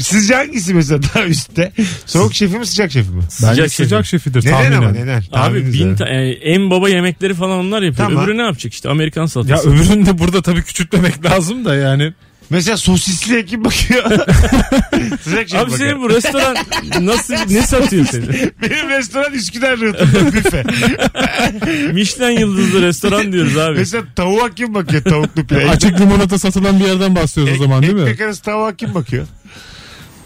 [SPEAKER 2] Sizce hangisi mesela daha üstte? Soğuk şefi mi sıcak şefi mi?
[SPEAKER 4] Bence
[SPEAKER 3] Sıcak şefi.
[SPEAKER 4] sıcak şefidir
[SPEAKER 2] Neden
[SPEAKER 4] tahminen.
[SPEAKER 2] ama neden?
[SPEAKER 3] Abi
[SPEAKER 2] Tahmininiz
[SPEAKER 3] bin
[SPEAKER 2] ne?
[SPEAKER 3] ta- yani en baba yemekleri falan onlar yapıyor.
[SPEAKER 2] Tamam.
[SPEAKER 3] Öbürü ne yapacak işte Amerikan
[SPEAKER 4] Ya
[SPEAKER 3] salatası.
[SPEAKER 4] öbürünü de burada tabii küçültmemek lazım da yani.
[SPEAKER 2] Mesela sosisliye kim bakıyor? sıcak şefi
[SPEAKER 3] Abi
[SPEAKER 4] Şey
[SPEAKER 2] bakıyor.
[SPEAKER 3] senin bu restoran nasıl ne satıyor seni?
[SPEAKER 2] Benim restoran Üsküdar rıhtımda büfe.
[SPEAKER 3] Michelin yıldızlı restoran diyoruz abi.
[SPEAKER 2] Mesela tavuğa kim bakıyor tavuklu pire?
[SPEAKER 4] Açık limonata satılan bir yerden bahsediyoruz o zaman değil mi?
[SPEAKER 2] Ekmek arası tavuğa kim bakıyor?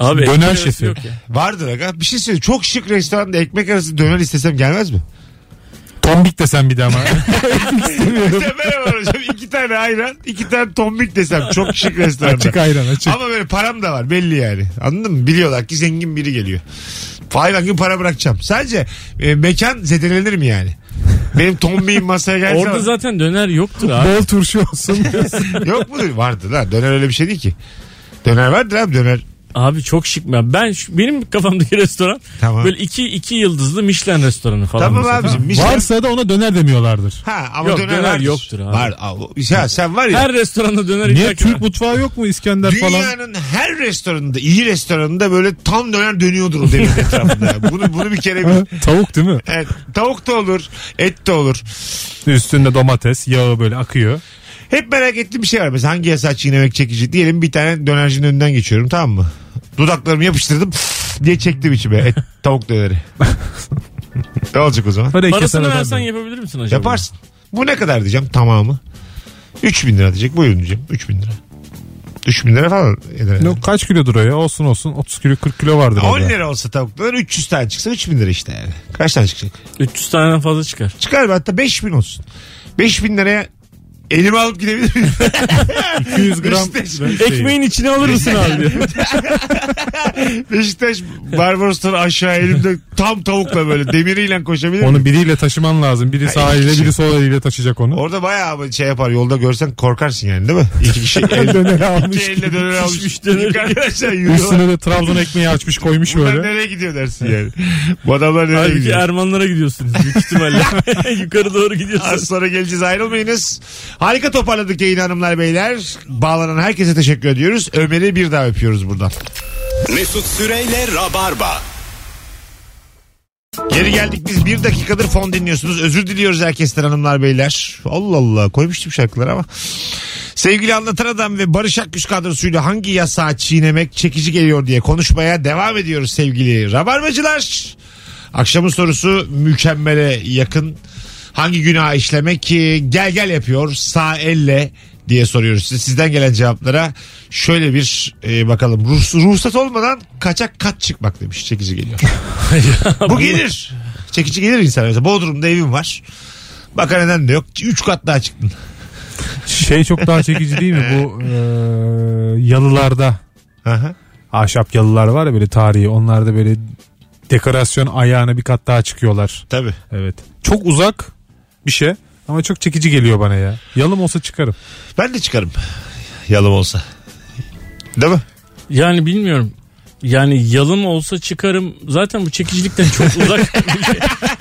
[SPEAKER 3] Abi
[SPEAKER 4] Döner
[SPEAKER 3] ekmek arası
[SPEAKER 4] şefi.
[SPEAKER 3] yok ya.
[SPEAKER 2] Vardır aga. Bir şey söyleyeyim. Çok şık restoranda ekmek arası döner istesem gelmez mi?
[SPEAKER 4] Tombik desen bir de ama. İstemiyorum.
[SPEAKER 2] İşte merhaba hocam. İki tane ayran, iki tane tombik desem. Çok şık restoranda.
[SPEAKER 4] açık ayran açık.
[SPEAKER 2] Ama böyle param da var belli yani. Anladın mı? Biliyorlar ki zengin biri geliyor. Hayvan gibi para bırakacağım. Sadece e, mekan zedelenir mi yani? Benim tombiğim masaya gelse
[SPEAKER 3] Orada zaten döner yoktur abi.
[SPEAKER 4] Bol turşu olsun.
[SPEAKER 2] yok mudur? Vardı lan. Döner öyle bir şey değil ki. Döner vardır abi döner.
[SPEAKER 3] Abi çok şık ben. Ben şu- benim kafamdaki restoran
[SPEAKER 2] Tamam.
[SPEAKER 3] böyle iki iki yıldızlı Michelin restoranı falan.
[SPEAKER 2] Tamam
[SPEAKER 3] mesela.
[SPEAKER 2] abicim. Michelin-
[SPEAKER 4] Varsa da ona döner demiyorlardır.
[SPEAKER 2] Ha ama
[SPEAKER 3] Yok,
[SPEAKER 2] döner,
[SPEAKER 3] döner
[SPEAKER 2] vardır.
[SPEAKER 3] yoktur abi.
[SPEAKER 2] Var. abi. Ya sen var ya.
[SPEAKER 3] Her restoranda döner
[SPEAKER 4] Niye
[SPEAKER 3] illa ki
[SPEAKER 4] Türk
[SPEAKER 3] var.
[SPEAKER 4] mutfağı yok mu İskender falan?
[SPEAKER 2] Dünyanın her restoranında, iyi restoranında böyle tam döner dönüyordur o demirin etrafında. Bunu bunu bir kere
[SPEAKER 4] Ha,
[SPEAKER 2] bil.
[SPEAKER 4] Tavuk değil mi?
[SPEAKER 2] Evet, tavuk da olur, et de olur.
[SPEAKER 4] Üstünde domates, yağı böyle akıyor.
[SPEAKER 2] Hep merak ettiğim bir şey var. Mesela hangi yasa çiğnemek çekici? Diyelim bir tane dönercinin önünden geçiyorum tamam mı? Dudaklarımı yapıştırdım diye çektim içime. Et, tavuk döneri. ne olacak o zaman?
[SPEAKER 4] Parayı
[SPEAKER 3] Parasını
[SPEAKER 4] kesen adam
[SPEAKER 3] versen
[SPEAKER 4] da.
[SPEAKER 3] yapabilir misin acaba?
[SPEAKER 2] Yaparsın. Bu ne kadar diyeceğim tamamı. 3000 lira diyecek. Buyurun diyeceğim. 3000 lira. 3000 lira falan eder. herhalde.
[SPEAKER 4] Ne, kaç kilodur o ya? Olsun olsun 30 kilo 40 kilo vardır.
[SPEAKER 2] 10
[SPEAKER 4] orada.
[SPEAKER 2] lira olsa tavuk döner 300 tane çıksa 3000 lira işte yani. Kaç tane çıkacak?
[SPEAKER 3] 300 taneden fazla çıkar.
[SPEAKER 2] Çıkar be hatta 5000 olsun. 5000 liraya elimi alıp gidebilir miyim?
[SPEAKER 4] 200 gram. şey.
[SPEAKER 2] Beşiktaş,
[SPEAKER 3] Ekmeğin içine alır mısın abi diyor.
[SPEAKER 2] Beşiktaş Barbaros'tan aşağı elimde tam tavukla böyle demiriyle koşabilir miyim?
[SPEAKER 4] Onu biriyle taşıman lazım. Biri sağ
[SPEAKER 2] iki
[SPEAKER 4] eliyle
[SPEAKER 2] kişi.
[SPEAKER 4] biri sol eliyle taşıyacak onu.
[SPEAKER 2] Orada bayağı ama şey yapar yolda görsen korkarsın yani değil mi? İki kişi el,
[SPEAKER 4] Döneri
[SPEAKER 2] iki
[SPEAKER 4] almış.
[SPEAKER 3] Şey,
[SPEAKER 2] elle döner almış.
[SPEAKER 3] Şişmiş döneri.
[SPEAKER 2] Yukarı Arkadaşlar yürüyorlar.
[SPEAKER 4] Üstüne de Trabzon ekmeği açmış koymuş
[SPEAKER 2] Bunlar
[SPEAKER 4] böyle.
[SPEAKER 2] nereye gidiyor dersin yani. Bu adamlar nereye
[SPEAKER 3] Halbuki
[SPEAKER 2] gidiyor?
[SPEAKER 3] Ermanlara gidiyorsunuz büyük ihtimalle. Yukarı doğru
[SPEAKER 2] Az
[SPEAKER 3] gidiyorsunuz.
[SPEAKER 2] sonra geleceğiz ayrılmayınız. Harika toparladık yayını hanımlar beyler. Bağlanan herkese teşekkür ediyoruz. Ömer'i bir daha öpüyoruz buradan.
[SPEAKER 1] Mesut Süreyle Rabarba.
[SPEAKER 2] Geri geldik biz bir dakikadır fon dinliyorsunuz. Özür diliyoruz herkesten hanımlar beyler. Allah Allah koymuştum şarkıları ama. Sevgili Anlatan Adam ve Barış Akgüs kadrosuyla hangi yasağı çiğnemek çekici geliyor diye konuşmaya devam ediyoruz sevgili Rabarbacılar. Akşamın sorusu mükemmele yakın. Hangi günah işlemek ki gel gel yapıyor sağ elle diye soruyoruz size. Sizden gelen cevaplara şöyle bir e, bakalım. Ruhs- ruhsat olmadan kaçak kat çıkmak demiş çekici geliyor. Bu gelir. Çekici gelir insan. Mesela Bodrum'da evim var. Bakaneden de yok. Üç kat daha çıktın.
[SPEAKER 4] Şey çok daha çekici değil mi? Bu e, yalılarda
[SPEAKER 2] Aha.
[SPEAKER 4] ahşap yalılar var ya böyle tarihi. Onlar da böyle dekorasyon ayağına bir kat daha çıkıyorlar.
[SPEAKER 2] Tabii.
[SPEAKER 4] Evet. Çok uzak bir şey ama çok çekici geliyor bana ya. Yalım olsa çıkarım.
[SPEAKER 2] Ben de çıkarım. Yalım olsa. Değil mi?
[SPEAKER 3] Yani bilmiyorum. Yani yalın olsa çıkarım. Zaten bu çekicilikten çok uzak. bir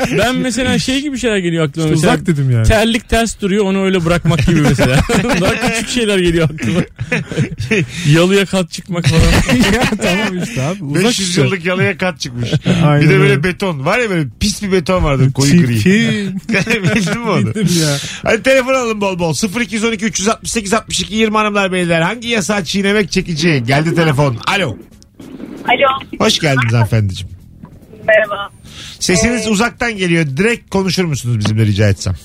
[SPEAKER 3] şey. ben mesela şey gibi şeyler geliyor aklıma. mesela.
[SPEAKER 4] Uzak dedim yani.
[SPEAKER 3] Terlik ters duruyor onu öyle bırakmak gibi mesela. Daha küçük şeyler geliyor aklıma. Yalıya kat çıkmak falan.
[SPEAKER 4] ya, tamam işte abi. Uzak
[SPEAKER 2] 500
[SPEAKER 4] işte.
[SPEAKER 2] yıllık yalıya kat çıkmış.
[SPEAKER 4] Aynen
[SPEAKER 2] bir de böyle
[SPEAKER 4] öyle.
[SPEAKER 2] beton. Var ya böyle pis bir beton vardı koyu gri.
[SPEAKER 4] Çirkin.
[SPEAKER 2] Bildin mi onu?
[SPEAKER 4] Dedim ya.
[SPEAKER 2] Hadi telefon alın bol bol. 0212 368 62 20 hanımlar beyler. Hangi yasa çiğnemek çekici? Geldi telefon. Alo.
[SPEAKER 7] Alo
[SPEAKER 2] Hoş geldiniz hanımefendiciğim.
[SPEAKER 7] merhaba.
[SPEAKER 2] Sesiniz uzaktan geliyor. Direkt konuşur musunuz bizimle rica etsem?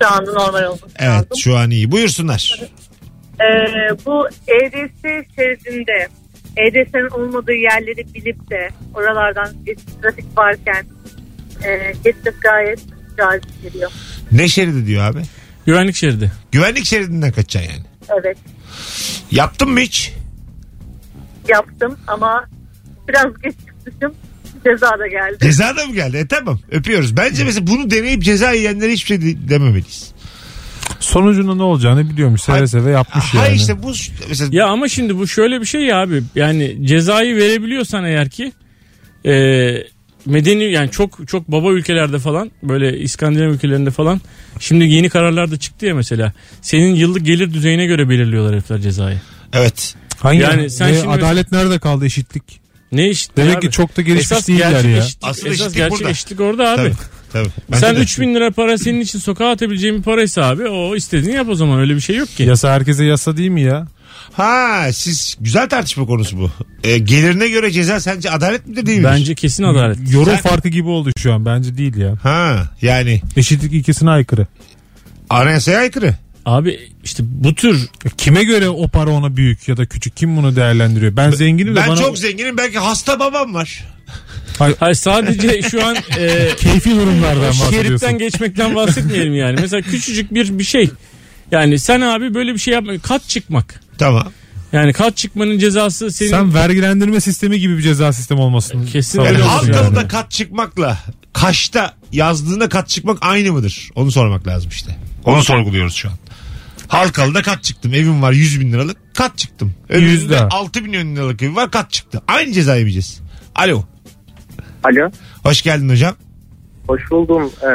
[SPEAKER 7] Şu anda normal oldum.
[SPEAKER 2] Evet şu an iyi. Buyursunlar.
[SPEAKER 7] Ee, bu EDS şeridinde EDS'nin olmadığı yerleri bilip de oralardan geçiş trafik varken e, geçmek gayet cazip geliyor.
[SPEAKER 2] Ne şeridi diyor abi?
[SPEAKER 3] Güvenlik şeridi.
[SPEAKER 2] Güvenlik şeridinden kaçacaksın yani.
[SPEAKER 7] Evet
[SPEAKER 2] Yaptın mı hiç?
[SPEAKER 7] yaptım ama biraz geç çıkmışım ceza da geldi.
[SPEAKER 2] Ceza da mı geldi? E tamam öpüyoruz. Bence mesela bunu deneyip ceza yiyenlere hiçbir şey de- dememeliyiz.
[SPEAKER 4] Sonucunda ne olacağını biliyormuş. Seve seve yapmış
[SPEAKER 2] Ha
[SPEAKER 4] yani.
[SPEAKER 2] işte bu mesela
[SPEAKER 3] şey Ya ama şimdi bu şöyle bir şey ya abi. Yani cezayı verebiliyorsan eğer ki e, medeni yani çok çok baba ülkelerde falan böyle İskandinav ülkelerinde falan şimdi yeni kararlar da çıktı ya mesela. Senin yıllık gelir düzeyine göre belirliyorlar herifler cezayı.
[SPEAKER 2] evet.
[SPEAKER 4] Hangi
[SPEAKER 3] Yani sen
[SPEAKER 4] Ve
[SPEAKER 3] şimdi-
[SPEAKER 4] adalet nerede kaldı eşitlik?
[SPEAKER 3] Ne iş?
[SPEAKER 4] Demek
[SPEAKER 3] abi?
[SPEAKER 4] ki çok da gelişmiş
[SPEAKER 3] Esas
[SPEAKER 4] değiller
[SPEAKER 3] gerçek
[SPEAKER 4] ya.
[SPEAKER 3] eşitlik-
[SPEAKER 2] Asıl
[SPEAKER 3] esas
[SPEAKER 2] eşitlik
[SPEAKER 3] gerçek
[SPEAKER 2] burada.
[SPEAKER 3] eşitlik orada abi.
[SPEAKER 2] Tabii. Tabii. Ben
[SPEAKER 3] Sen
[SPEAKER 2] de-
[SPEAKER 3] 3000 lira para senin için sokağa atabileceğin bir paraysa abi o istediğini yap o zaman öyle bir şey yok ki.
[SPEAKER 4] Yasa herkese yasa değil mi ya?
[SPEAKER 2] Ha siz güzel tartışma konusu bu. E, gelirine göre ceza sence adalet midir değil midir?
[SPEAKER 3] Bence kesin adalet.
[SPEAKER 4] Yorum
[SPEAKER 2] Sen-
[SPEAKER 4] farkı gibi oldu şu an. Bence değil ya.
[SPEAKER 2] Ha yani
[SPEAKER 4] Eşitlik ikisine aykırı.
[SPEAKER 2] anayasaya aykırı.
[SPEAKER 3] Abi işte bu tür
[SPEAKER 4] E, Kime göre o para ona büyük ya da küçük? Kim bunu değerlendiriyor? Ben zenginim de
[SPEAKER 2] Ben
[SPEAKER 4] bana...
[SPEAKER 2] çok zenginim belki hasta babam var.
[SPEAKER 3] hayır sadece şu an e,
[SPEAKER 4] Keyfi durumlardan bahsediyorsun.
[SPEAKER 3] şeritten geçmekten bahsetmeyelim yani. Mesela küçücük bir bir şey. Yani sen abi böyle bir şey yapma. Kat çıkmak.
[SPEAKER 2] Tamam.
[SPEAKER 3] Yani kat çıkmanın cezası senin
[SPEAKER 4] Sen vergilendirme sistemi gibi bir ceza sistemi olmasın.
[SPEAKER 3] Kesin
[SPEAKER 2] Yani
[SPEAKER 3] Öyle olur
[SPEAKER 2] Halkalı'da kat çıkmakla Kaş'ta yazdığında kat çıkmak aynı mıdır? Onu sormak lazım işte. Onu sorguluyoruz şu an. Halkalı'da kat çıktım. Evim var 100 bin liralık. Kat çıktım. Önümüzde
[SPEAKER 4] Yüzde.
[SPEAKER 2] 6 milyon liralık evim var. Kat çıktı. Aynı ceza yemeyeceğiz. Alo.
[SPEAKER 9] Alo.
[SPEAKER 2] Hoş geldin hocam.
[SPEAKER 9] Hoş buldum. Ee,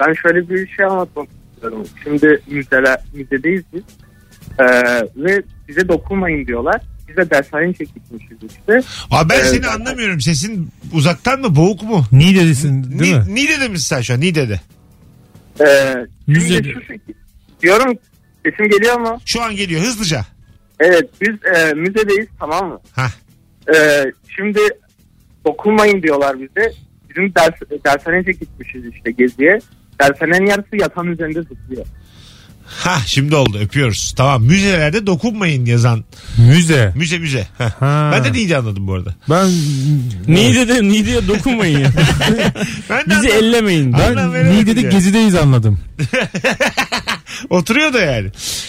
[SPEAKER 9] ben şöyle bir şey anlatmak istiyorum. Şimdi müzeler, müzedeyiz biz. Ee, ve bize dokunmayın diyorlar. Bize dershane çekilmişiz işte.
[SPEAKER 2] Abi ben
[SPEAKER 9] Evet.
[SPEAKER 2] seni anlamıyorum. Sesin uzaktan mı? Boğuk mu?
[SPEAKER 4] Ni dedisin değil
[SPEAKER 2] Ni,
[SPEAKER 4] mi?
[SPEAKER 2] Niğde'de misin sen şu an? Niğde'de.
[SPEAKER 9] Ee,
[SPEAKER 4] Müzede.
[SPEAKER 9] şimdi şu şekil- Diyorum sesim geliyor mu?
[SPEAKER 2] Şu an geliyor hızlıca.
[SPEAKER 9] Evet biz e, müzedeyiz tamam mı?
[SPEAKER 2] Hah.
[SPEAKER 9] Ee, şimdi dokunmayın diyorlar bize. Bizim ders, dershaneye gitmişiz işte geziye. Dershanenin yarısı yatağın üzerinde zıplıyor.
[SPEAKER 2] Ha şimdi oldu öpüyoruz. Tamam müzelerde dokunmayın yazan.
[SPEAKER 4] Müze.
[SPEAKER 2] Müze müze. Hah.
[SPEAKER 4] Ha.
[SPEAKER 2] Ben de Niğde anladım bu arada.
[SPEAKER 4] Ben
[SPEAKER 3] Niğde de Niğde'ye dokunmayın ya.
[SPEAKER 2] Ben de
[SPEAKER 3] Bizi
[SPEAKER 2] anladım.
[SPEAKER 3] ellemeyin. de.
[SPEAKER 4] ben
[SPEAKER 2] Anlam veremedim
[SPEAKER 4] Niğde'de
[SPEAKER 2] ya.
[SPEAKER 4] gezideyiz anladım.
[SPEAKER 2] Oturuyor da yani.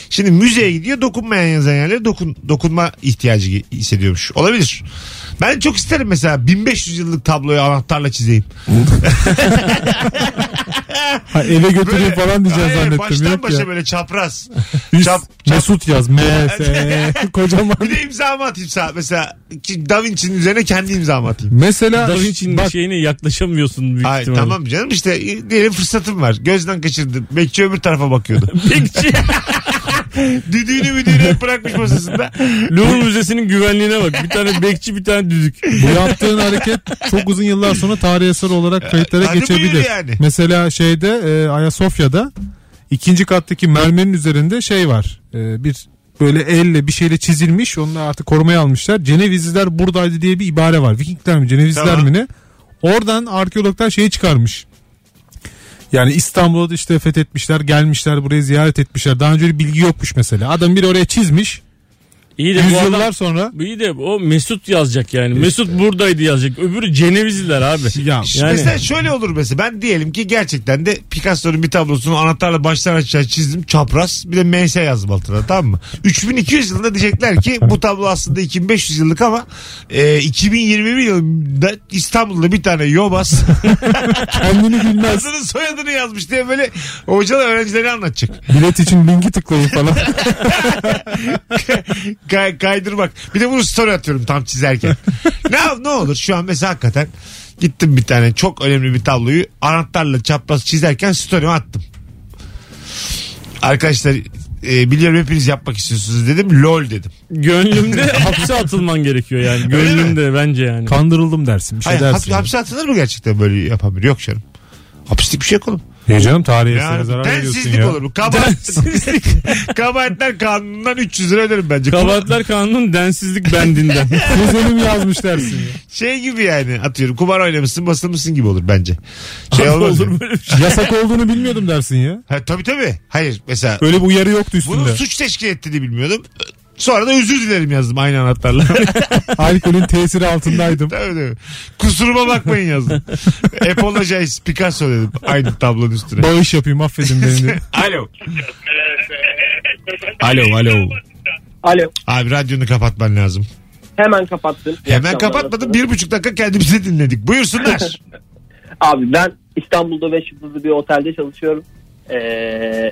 [SPEAKER 2] Şimdi müzeye gidiyor dokunmayan yazan yerlere dokun, dokunma ihtiyacı gi- hissediyormuş. Olabilir. Ben çok isterim mesela 1500 yıllık tabloyu anahtarla çizeyim.
[SPEAKER 4] Ha, eve götüreyim falan diyeceğim
[SPEAKER 2] Hayır,
[SPEAKER 4] zannettim.
[SPEAKER 2] baştan
[SPEAKER 4] Yok
[SPEAKER 2] başa
[SPEAKER 4] ya.
[SPEAKER 2] böyle çapraz.
[SPEAKER 4] Üst,
[SPEAKER 2] Çap-
[SPEAKER 4] Mesut yaz. M, S, kocaman.
[SPEAKER 2] Bir de imzamı atayım sağ. Mesela ki Da Vinci'nin üzerine kendi imzamı atayım.
[SPEAKER 4] Mesela
[SPEAKER 3] Da Vinci'nin
[SPEAKER 4] bak,
[SPEAKER 3] şeyine yaklaşamıyorsun büyük
[SPEAKER 2] Ay,
[SPEAKER 3] ihtimalle.
[SPEAKER 2] tamam canım işte e, diyelim fırsatım var. Gözden kaçırdım. Bekçi öbür tarafa bakıyordu.
[SPEAKER 3] Bekçi.
[SPEAKER 2] Düdüğünü müdüğünü hep bırakmış masasında.
[SPEAKER 3] Louvre Müzesi'nin güvenliğine bak. Bir tane bekçi bir tane düdük.
[SPEAKER 4] bu yaptığın hareket çok uzun yıllar sonra tarih eseri olarak kayıtlara
[SPEAKER 2] Tanrı
[SPEAKER 4] geçebilir.
[SPEAKER 2] buyur yani.
[SPEAKER 4] Mesela şeyde e, Ayasofya'da ikinci kattaki mermerin üzerinde şey var. E, bir böyle elle bir şeyle çizilmiş. Onu artık korumaya almışlar. Cenevizliler buradaydı diye bir ibare var. Vikingler mi Cenevizliler
[SPEAKER 2] Tamam.
[SPEAKER 4] mi ne? Oradan arkeologlar şeyi çıkarmış. Yani İstanbul'u da işte fethetmişler, gelmişler, burayı ziyaret etmişler. Daha önce öyle bilgi yokmuş mesela. Adam biri oraya çizmiş.
[SPEAKER 3] İyi de bu
[SPEAKER 4] Yüzyıllar
[SPEAKER 3] adam...
[SPEAKER 4] sonra
[SPEAKER 3] İyi de o Mesut yazacak yani. Mesut buradaydı yazacak. Öbürü Cenevizliler abi.
[SPEAKER 4] ya
[SPEAKER 2] Şimdi
[SPEAKER 3] Yani-
[SPEAKER 2] Mesela şöyle olur mesela ben diyelim ki gerçekten de Picasso'nun bir tablosunu anahtarla baştan aşağı çizdim çapraz bir de MS yazdım altına tamam mı? 3200 yılında diyecekler ki bu tablo aslında 2500 yıllık ama e, 2021 yılında İstanbul'da bir tane yobaz
[SPEAKER 4] kendini bilmez.
[SPEAKER 2] adının soyadını yazmış diye böyle hocalar öğrencileri anlatacak.
[SPEAKER 4] Bilet için linki tıklayın falan.
[SPEAKER 2] Kay- kaydırmak. Bir de bunu story atıyorum tam çizerken. ne, yap- ne olur şu an mesela hakikaten gittim bir tane çok önemli bir tabloyu anahtarla çapraz çizerken story'e attım. Arkadaşlar e, biliyorum hepiniz yapmak istiyorsunuz dedim. LOL dedim.
[SPEAKER 3] Gönlümde hapse atılman gerekiyor yani. Gönlümde bence yani.
[SPEAKER 4] Kandırıldım dersin bir şey
[SPEAKER 2] Hayır, hap,
[SPEAKER 4] dersin.
[SPEAKER 2] hapse atılır mı gerçekten böyle yapan biri? Yok canım. Hapislik bir şey yok oğlum.
[SPEAKER 4] Ne canım tarihe
[SPEAKER 2] Ya,
[SPEAKER 4] esere zarar veriyorsun
[SPEAKER 2] tensizlik
[SPEAKER 4] ya.
[SPEAKER 2] olur bu. Kabahat, kabahatler kanunundan 300 lira öderim bence.
[SPEAKER 3] Kabahatler kanunun densizlik bendinden.
[SPEAKER 4] Kuzenim yazmış dersin ya.
[SPEAKER 2] Şey gibi yani atıyorum kumar oynamışsın basılmışsın gibi olur bence. Şey olmaz. yani.
[SPEAKER 4] Yasak olduğunu bilmiyordum dersin ya.
[SPEAKER 2] Ha, tabii tabii. Hayır mesela
[SPEAKER 4] Öyle bir uyarı yoktu
[SPEAKER 2] bunun
[SPEAKER 4] üstünde.
[SPEAKER 2] suç teşkil ettiğini bilmiyordum. Sonra da özür dilerim yazdım aynı anahtarla.
[SPEAKER 4] Alkolün tesiri altındaydım.
[SPEAKER 2] tabii tabii. Kusuruma bakmayın yazdım. Apologize Picasso dedim aynı tablonun üstüne.
[SPEAKER 4] Bağış yapayım affedin beni. diye.
[SPEAKER 2] alo. Alo alo.
[SPEAKER 6] Alo.
[SPEAKER 2] Abi radyonu kapatman lazım.
[SPEAKER 6] Hemen kapattım. İyi
[SPEAKER 2] Hemen
[SPEAKER 6] akşamlar.
[SPEAKER 2] kapatmadım. Bir buçuk dakika kendimizi dinledik. Buyursunlar.
[SPEAKER 6] Abi ben İstanbul'da 5 yıldızlı bir otelde çalışıyorum. Ee,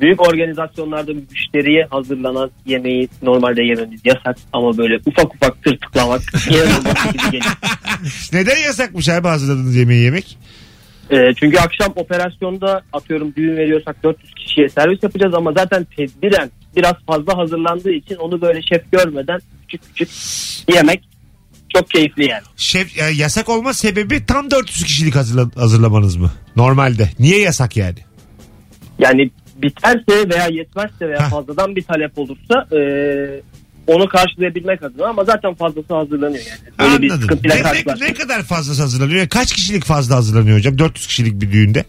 [SPEAKER 6] büyük organizasyonlarda müşteriye hazırlanan yemeği normalde yememiz yasak ama böyle ufak ufak tırtıklamak inanılmaz şekilde geliyor.
[SPEAKER 2] Neden yasakmış abi hazırladığınız yemeği yemek?
[SPEAKER 6] Ee, çünkü akşam operasyonda atıyorum düğün veriyorsak 400 kişiye servis yapacağız ama zaten tedbiren biraz fazla hazırlandığı için onu böyle şef görmeden küçük küçük yemek çok keyifli yani.
[SPEAKER 2] Şef, yani yasak olma sebebi tam 400 kişilik hazırla- hazırlamanız mı? Normalde. Niye yasak yani?
[SPEAKER 6] Yani biterse veya yetmezse veya
[SPEAKER 2] Heh.
[SPEAKER 6] fazladan bir talep olursa e, onu karşılayabilmek adına ama zaten fazlası hazırlanıyor yani. Böyle bir
[SPEAKER 2] Anladım.
[SPEAKER 6] sıkıntıyla
[SPEAKER 2] Ne, ne,
[SPEAKER 6] karşılaştık.
[SPEAKER 2] ne kadar fazla hazırlanıyor? Yani Kaç kişilik fazla hazırlanıyor hocam? 400 kişilik bir düğünde.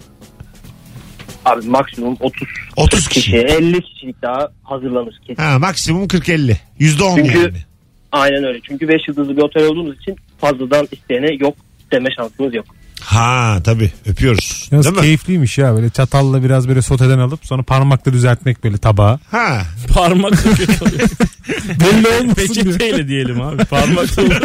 [SPEAKER 6] Abi maksimum 30
[SPEAKER 2] 30
[SPEAKER 6] kişi,
[SPEAKER 2] kişi.
[SPEAKER 6] 50 kişilik daha hazırlanır kesin.
[SPEAKER 2] Ha, maksimum 40-50. %10
[SPEAKER 6] Çünkü-
[SPEAKER 2] yani.
[SPEAKER 6] Aynen öyle. Çünkü 5 yıldızlı bir otel olduğumuz için fazladan isteyene yok deme şansımız yok.
[SPEAKER 2] Ha tabii öpüyoruz.
[SPEAKER 4] Yalnız
[SPEAKER 2] Değil mi?
[SPEAKER 4] keyifliymiş ya böyle çatalla biraz böyle soteden alıp sonra parmakla düzeltmek böyle tabağa.
[SPEAKER 2] Ha.
[SPEAKER 3] Parmakla kötü oluyor.
[SPEAKER 4] Belli olmasın diye.
[SPEAKER 3] Peçeteyle diyelim abi. Parmakla oluyor.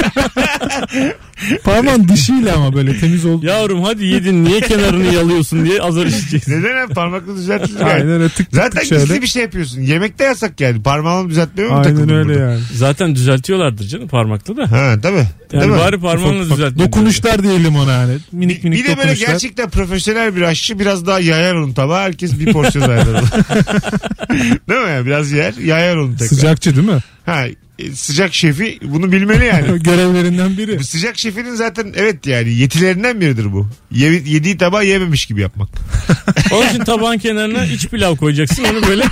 [SPEAKER 4] Parmağın dişiyle ama böyle temiz oldu.
[SPEAKER 3] Yavrum hadi yedin niye kenarını yalıyorsun diye azar işiteceksin.
[SPEAKER 2] Neden abi parmakla düzeltilir yani?
[SPEAKER 4] Aynen öyle tık tık
[SPEAKER 2] Zaten
[SPEAKER 4] tık şöyle.
[SPEAKER 2] gizli bir şey yapıyorsun. Yemekte yasak yani. Parmağını düzeltmeye mi
[SPEAKER 4] Aynen
[SPEAKER 2] takıldın
[SPEAKER 4] öyle
[SPEAKER 2] burada?
[SPEAKER 4] yani.
[SPEAKER 3] Zaten düzeltiyorlardır canım parmakla da.
[SPEAKER 2] Ha tabii. Değil
[SPEAKER 3] Yani
[SPEAKER 2] mi?
[SPEAKER 3] bari parmağınla
[SPEAKER 4] Ufak ufak
[SPEAKER 3] düzeltin.
[SPEAKER 4] Dokunuşlar diyelim ona yani. Minik minik
[SPEAKER 2] bir de böyle
[SPEAKER 4] dokunuşlar.
[SPEAKER 2] gerçekten profesyonel bir aşçı biraz daha yayar onu tabağa. Herkes bir porsiyon ayırır. Değil mi? ya? Biraz yer yayar onu tekrar. Sıcak.
[SPEAKER 4] Sıcakçı değil mi?
[SPEAKER 2] Ha, e, sıcak şefi bunu bilmeli yani.
[SPEAKER 4] Görevlerinden biri.
[SPEAKER 2] Bu sıcak şefinin zaten evet yani yetilerinden biridir bu. Ye- yediği tabağı yememiş gibi yapmak.
[SPEAKER 3] Onun için tabağın kenarına iç pilav koyacaksın onu böyle.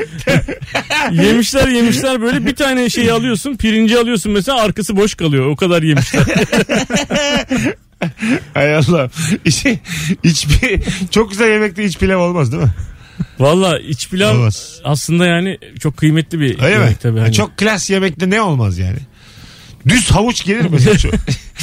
[SPEAKER 3] yemişler yemişler böyle bir tane şeyi alıyorsun pirinci alıyorsun mesela arkası boş kalıyor o kadar yemişler.
[SPEAKER 2] Hay Allah. İç, iç pi- çok güzel yemekte iç pilav olmaz değil mi?
[SPEAKER 3] Valla iç pilav
[SPEAKER 2] Olmaz.
[SPEAKER 3] aslında yani çok kıymetli bir
[SPEAKER 2] Öyle
[SPEAKER 3] yemek
[SPEAKER 2] mi?
[SPEAKER 3] tabii.
[SPEAKER 2] Ha,
[SPEAKER 3] Hani.
[SPEAKER 2] Çok klas yemekte ne olmaz yani? Düz havuç gelir mesela. Çok,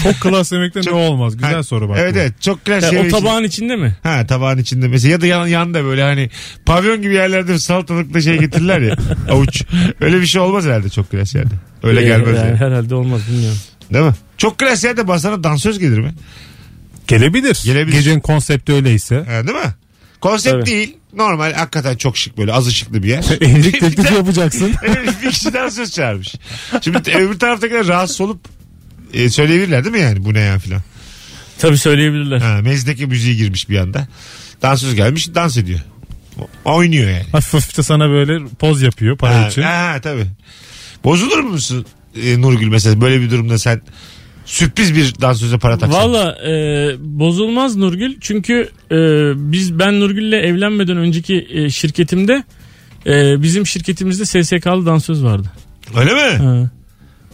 [SPEAKER 4] Çok klas yemekte ne
[SPEAKER 2] Çok-
[SPEAKER 4] olmaz? Güzel
[SPEAKER 2] Ha,
[SPEAKER 4] soru bak.
[SPEAKER 2] Evet
[SPEAKER 4] bu.
[SPEAKER 2] evet çok klas
[SPEAKER 3] Yani o
[SPEAKER 2] yemek.
[SPEAKER 3] tabağın içinde mi?
[SPEAKER 2] Ha tabağın içinde mesela ya da yan, yanında böyle hani pavyon gibi yerlerde salatalıkta şey getirirler ya avuç. Öyle bir şey olmaz herhalde çok klas yerde. Öyle
[SPEAKER 3] Ee,
[SPEAKER 2] gelmez
[SPEAKER 3] yani
[SPEAKER 2] yani.
[SPEAKER 3] Herhalde olmaz bilmiyorum.
[SPEAKER 2] Değil mi? Çok klas yerde basana dansöz gelir mi?
[SPEAKER 4] Gelebilir.
[SPEAKER 2] Gelebilir.
[SPEAKER 4] Gecenin konsepti öyleyse.
[SPEAKER 2] Ha, Ee, değil mi? Konsept
[SPEAKER 3] Tabii.
[SPEAKER 2] değil. Normal hakikaten çok şık böyle az ışıklı bir yer.
[SPEAKER 4] Evlilik teklifi yapacaksın.
[SPEAKER 2] Evet, bir kişi dansöz çağırmış. Şimdi öbür taraftakiler rahatsız olup e, söyleyebilirler değil mi yani bu ne ya filan.
[SPEAKER 3] Tabii söyleyebilirler.
[SPEAKER 2] Ha, mezdeki müziği girmiş bir anda. Dansöz gelmiş dans ediyor. O- Oynuyor yani.
[SPEAKER 4] Hafif hafif de sana böyle poz yapıyor para
[SPEAKER 2] Ha,
[SPEAKER 4] için.
[SPEAKER 2] ha, tabii. Bozulur musun e, Nurgül mesela böyle bir durumda sen sürpriz bir dansöze para taksan?
[SPEAKER 3] Valla e, bozulmaz Nurgül çünkü e, biz ben Nurgül'le evlenmeden önceki e, şirketimde e, bizim şirketimizde SSK'lı dansöz vardı.
[SPEAKER 2] Öyle mi?
[SPEAKER 3] Ha.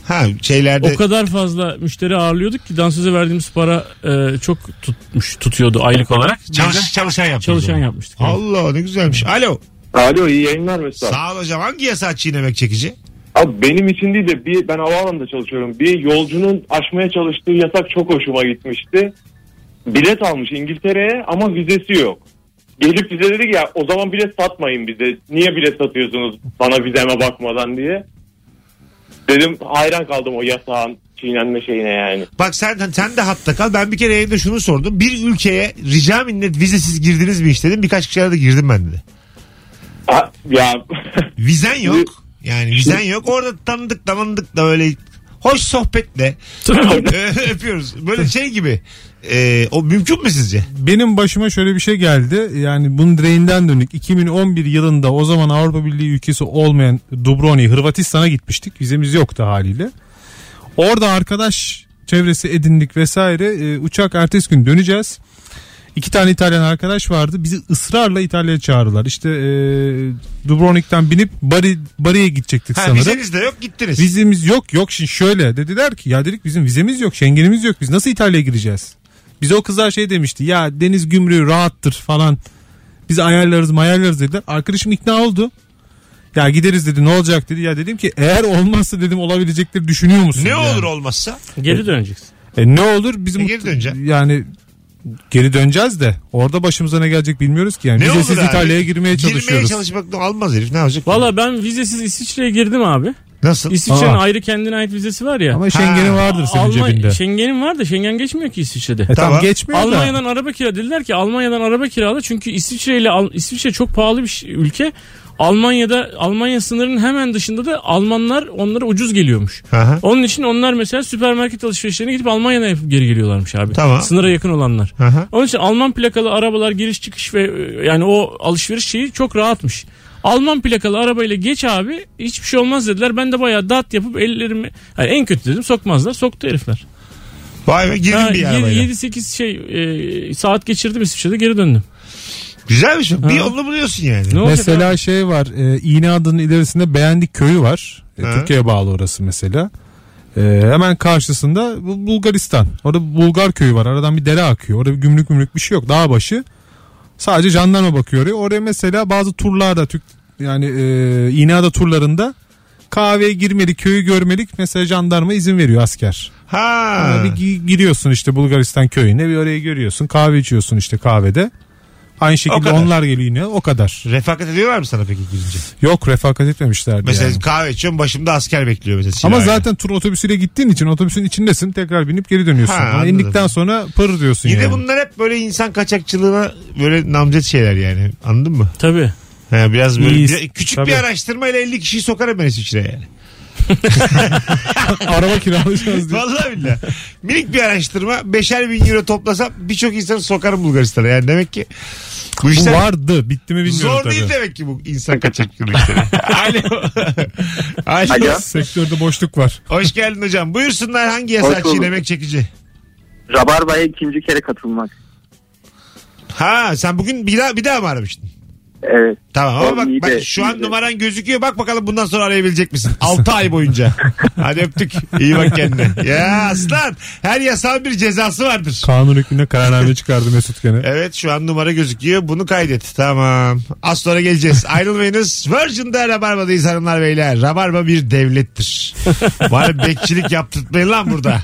[SPEAKER 2] Ha şeylerde
[SPEAKER 3] O kadar fazla müşteri ağırlıyorduk ki dansöze verdiğimiz para e, çok tutmuş tutuyordu aylık olarak.
[SPEAKER 2] çalış, çalışan yapmış.
[SPEAKER 3] Çalışan yapmıştık. yani.
[SPEAKER 2] Allah ne güzelmiş. Alo.
[SPEAKER 10] Alo iyi yayınlar mesela.
[SPEAKER 2] Sağ ol hocam. Hangi yasa çiğnemek çekici?
[SPEAKER 10] Abi benim için değil de bir ben havaalanında çalışıyorum. Bir yolcunun aşmaya çalıştığı yasak çok hoşuma gitmişti. Bilet almış İngiltere'ye ama vizesi yok. Gelip bize dedi ki ya o zaman bilet satmayın bize. Niye bilet satıyorsunuz bana vizeme bakmadan diye. Dedim hayran kaldım o yasağın çiğnenme şeyine yani.
[SPEAKER 2] Bak sen sen de hatta kal. Ben bir kere evde şunu sordum. Bir ülkeye rica minnet vizesiz girdiniz mi iş dedim. Birkaç kişiye de girdim ben dedi.
[SPEAKER 10] Ha, ya
[SPEAKER 2] Vizen yok. Yani vizen yok. Orada tanıdık tanıdık da böyle hoş sohbetle Ee, öpüyoruz. Böyle şey gibi. Ee, o mümkün mü sizce?
[SPEAKER 4] Benim başıma şöyle bir şey geldi. Yani bunun direğinden döndük. 2011 yılında o zaman Avrupa Birliği ülkesi olmayan Dubrovnik, Hırvatistan'a gitmiştik. Vizemiz yoktu haliyle. Orada arkadaş çevresi edindik vesaire. Ee, uçak ertesi gün döneceğiz. İki tane İtalyan arkadaş vardı. Bizi ısrarla İtalya'ya çağırdılar. İşte e, Dubrovnik'ten binip Bari, Bari'ye gidecektik
[SPEAKER 2] Ha,
[SPEAKER 4] sanırım.
[SPEAKER 2] vizeniz de yok gittiniz.
[SPEAKER 4] Vizemiz yok yok şimdi şöyle dediler ki ya dedik bizim vizemiz yok Schengen'imiz yok biz nasıl İtalya'ya gireceğiz? Bize o kızlar şey demişti ya deniz gümrüğü rahattır falan biz ayarlarız mayarlarız dediler. Arkadaşım ikna oldu. Ya gideriz dedi ne olacak dedi. Ya dedim ki eğer olmazsa dedim olabilecektir düşünüyor musun?
[SPEAKER 2] ne
[SPEAKER 4] yani?
[SPEAKER 2] olur olmazsa?
[SPEAKER 3] Geri döneceksin.
[SPEAKER 4] E, ne olur bizim
[SPEAKER 2] E, geri döneceksin.
[SPEAKER 4] yani geri döneceğiz de orada başımıza ne gelecek bilmiyoruz ki yani.
[SPEAKER 2] Ne
[SPEAKER 4] Vizesiz
[SPEAKER 2] olur abi?
[SPEAKER 4] İtalya'ya girmeye
[SPEAKER 2] Girmeye
[SPEAKER 4] çalışıyoruz.
[SPEAKER 2] çalışmak da almaz herif. Ne yapacak?
[SPEAKER 3] Valla ben vizesiz İsviçre'ye girdim abi.
[SPEAKER 2] Nasıl?
[SPEAKER 3] İsviçre'nin
[SPEAKER 4] Aa.
[SPEAKER 3] ayrı kendine ait vizesi var ya.
[SPEAKER 4] Ama Schengen'i
[SPEAKER 2] Ha.
[SPEAKER 4] vardır senin
[SPEAKER 3] Almanya- şey-
[SPEAKER 4] cebinde.
[SPEAKER 3] Schengen'im var da Schengen geçmiyor ki İsviçre'de.
[SPEAKER 4] E, tamam
[SPEAKER 2] Tamam.
[SPEAKER 4] geçmiyor da.
[SPEAKER 3] Almanya'dan araba kira dediler ki Almanya'dan araba kirala çünkü İsviçre ile Al- İsviçre çok pahalı bir şey- ülke. Almanya'da Almanya sınırının hemen dışında da Almanlar onlara ucuz geliyormuş.
[SPEAKER 2] Aha.
[SPEAKER 3] Onun için onlar mesela süpermarket alışverişlerine gidip Almanya'dan yapıp geri geliyorlarmış abi.
[SPEAKER 2] Tamam.
[SPEAKER 3] Sınıra yakın olanlar.
[SPEAKER 2] Aha.
[SPEAKER 3] Onun için Alman plakalı arabalar giriş çıkış ve e, yani o alışveriş şeyi çok rahatmış. Alman plakalı arabayla geç abi hiçbir şey olmaz dediler. Ben de bayağı dat yapıp ellerimi yani en kötü dedim sokmazlar soktu herifler.
[SPEAKER 2] Vay be girdin bir arabayla.
[SPEAKER 3] 7-8 şey e, saat geçirdim İsviçre'de geri döndüm.
[SPEAKER 2] Güzelmiş mi? Bir
[SPEAKER 3] Ha.
[SPEAKER 2] yolunu buluyorsun yani.
[SPEAKER 3] Ne olacak
[SPEAKER 4] Mesela şey var e, İğne Adı'nın ilerisinde Beğendik Köyü var. E,
[SPEAKER 2] Hı.
[SPEAKER 4] Türkiye'ye bağlı orası mesela. E, hemen karşısında Bu- Bulgaristan. Orada Bulgar köyü var. Aradan bir dere akıyor. Orada bir gümrük mümrük bir şey yok. Dağ başı. Sadece jandarma bakıyor oraya. Oraya mesela bazı turlarda Türk yani e, İğne Ada turlarında kahveye girmedik, köyü görmedik. Mesela jandarma izin veriyor asker.
[SPEAKER 2] Ha.
[SPEAKER 4] Ama Bir gi- giriyorsun işte Bulgaristan köyüne bir orayı görüyorsun. Kahve içiyorsun işte kahvede. Aynı şekilde
[SPEAKER 2] kadar.
[SPEAKER 4] onlar geliyor yine o kadar.
[SPEAKER 2] Refakat ediyorlar mı sana peki girince?
[SPEAKER 4] Yok refakat etmemişlerdi
[SPEAKER 2] Mesela
[SPEAKER 4] yani.
[SPEAKER 2] kahve içiyorum başımda asker bekliyor mesela.
[SPEAKER 4] Ama
[SPEAKER 2] silahıyla.
[SPEAKER 4] zaten tur otobüsüyle gittiğin için otobüsün içindesin tekrar binip geri dönüyorsun.
[SPEAKER 2] Ha,
[SPEAKER 4] Ama
[SPEAKER 2] anladım.
[SPEAKER 4] indikten sonra pır diyorsun
[SPEAKER 2] Bir de
[SPEAKER 4] yani.
[SPEAKER 2] bunlar hep böyle insan kaçakçılığına böyle namzet şeyler yani. Anladın mı?
[SPEAKER 3] Tabii.
[SPEAKER 2] He, biraz böyle
[SPEAKER 4] İyiyiz.
[SPEAKER 2] bir- küçük
[SPEAKER 4] Tabii.
[SPEAKER 2] bir araştırmayla 50 kişiyi sokarım ben İsviçre'ye yani.
[SPEAKER 4] Araba kiralayacağız diye.
[SPEAKER 2] Vallahi billahi. Minik bir araştırma. Beşer bin euro toplasam birçok insanı sokarım Bulgaristan'a. Yani demek ki bu
[SPEAKER 4] Bu
[SPEAKER 2] işler
[SPEAKER 4] vardı bitti mi bilmiyorum
[SPEAKER 2] zor
[SPEAKER 4] tabii.
[SPEAKER 2] değil demek ki bu insan kaçakçılığı işleri. Alo. Alo.
[SPEAKER 9] Alo.
[SPEAKER 4] Sektörde boşluk var.
[SPEAKER 2] Hoş geldin hocam. Buyursunlar hangi
[SPEAKER 9] Hoş
[SPEAKER 2] yasa
[SPEAKER 9] bulduk.
[SPEAKER 2] çiğnemek çekici?
[SPEAKER 9] Rabarba'ya ikinci kere katılmak.
[SPEAKER 2] Ha sen bugün bir daha bir daha mı aramıştın?
[SPEAKER 9] Evet.
[SPEAKER 2] Tamam ama
[SPEAKER 9] Oğlum
[SPEAKER 2] bak,
[SPEAKER 9] iyi
[SPEAKER 2] bak
[SPEAKER 9] de-
[SPEAKER 2] şu
[SPEAKER 9] iyi
[SPEAKER 2] an
[SPEAKER 9] de.
[SPEAKER 2] numaran gözüküyor. Bak bakalım bundan sonra arayabilecek misin? 6 ay boyunca. Hadi öptük. İyi bak kendine. Ya aslan. Her yasağın bir cezası vardır.
[SPEAKER 4] Kanun hükmünde kararname çıkardı Mesut gene.
[SPEAKER 2] Evet şu an numara gözüküyor. Bunu kaydet. Tamam. Az sonra geleceğiz. Ayrılmayınız. Virgin'de Rabarba'dayız hanımlar beyler. Rabarba bir devlettir. Bana bekçilik yaptırtmayın lan burada.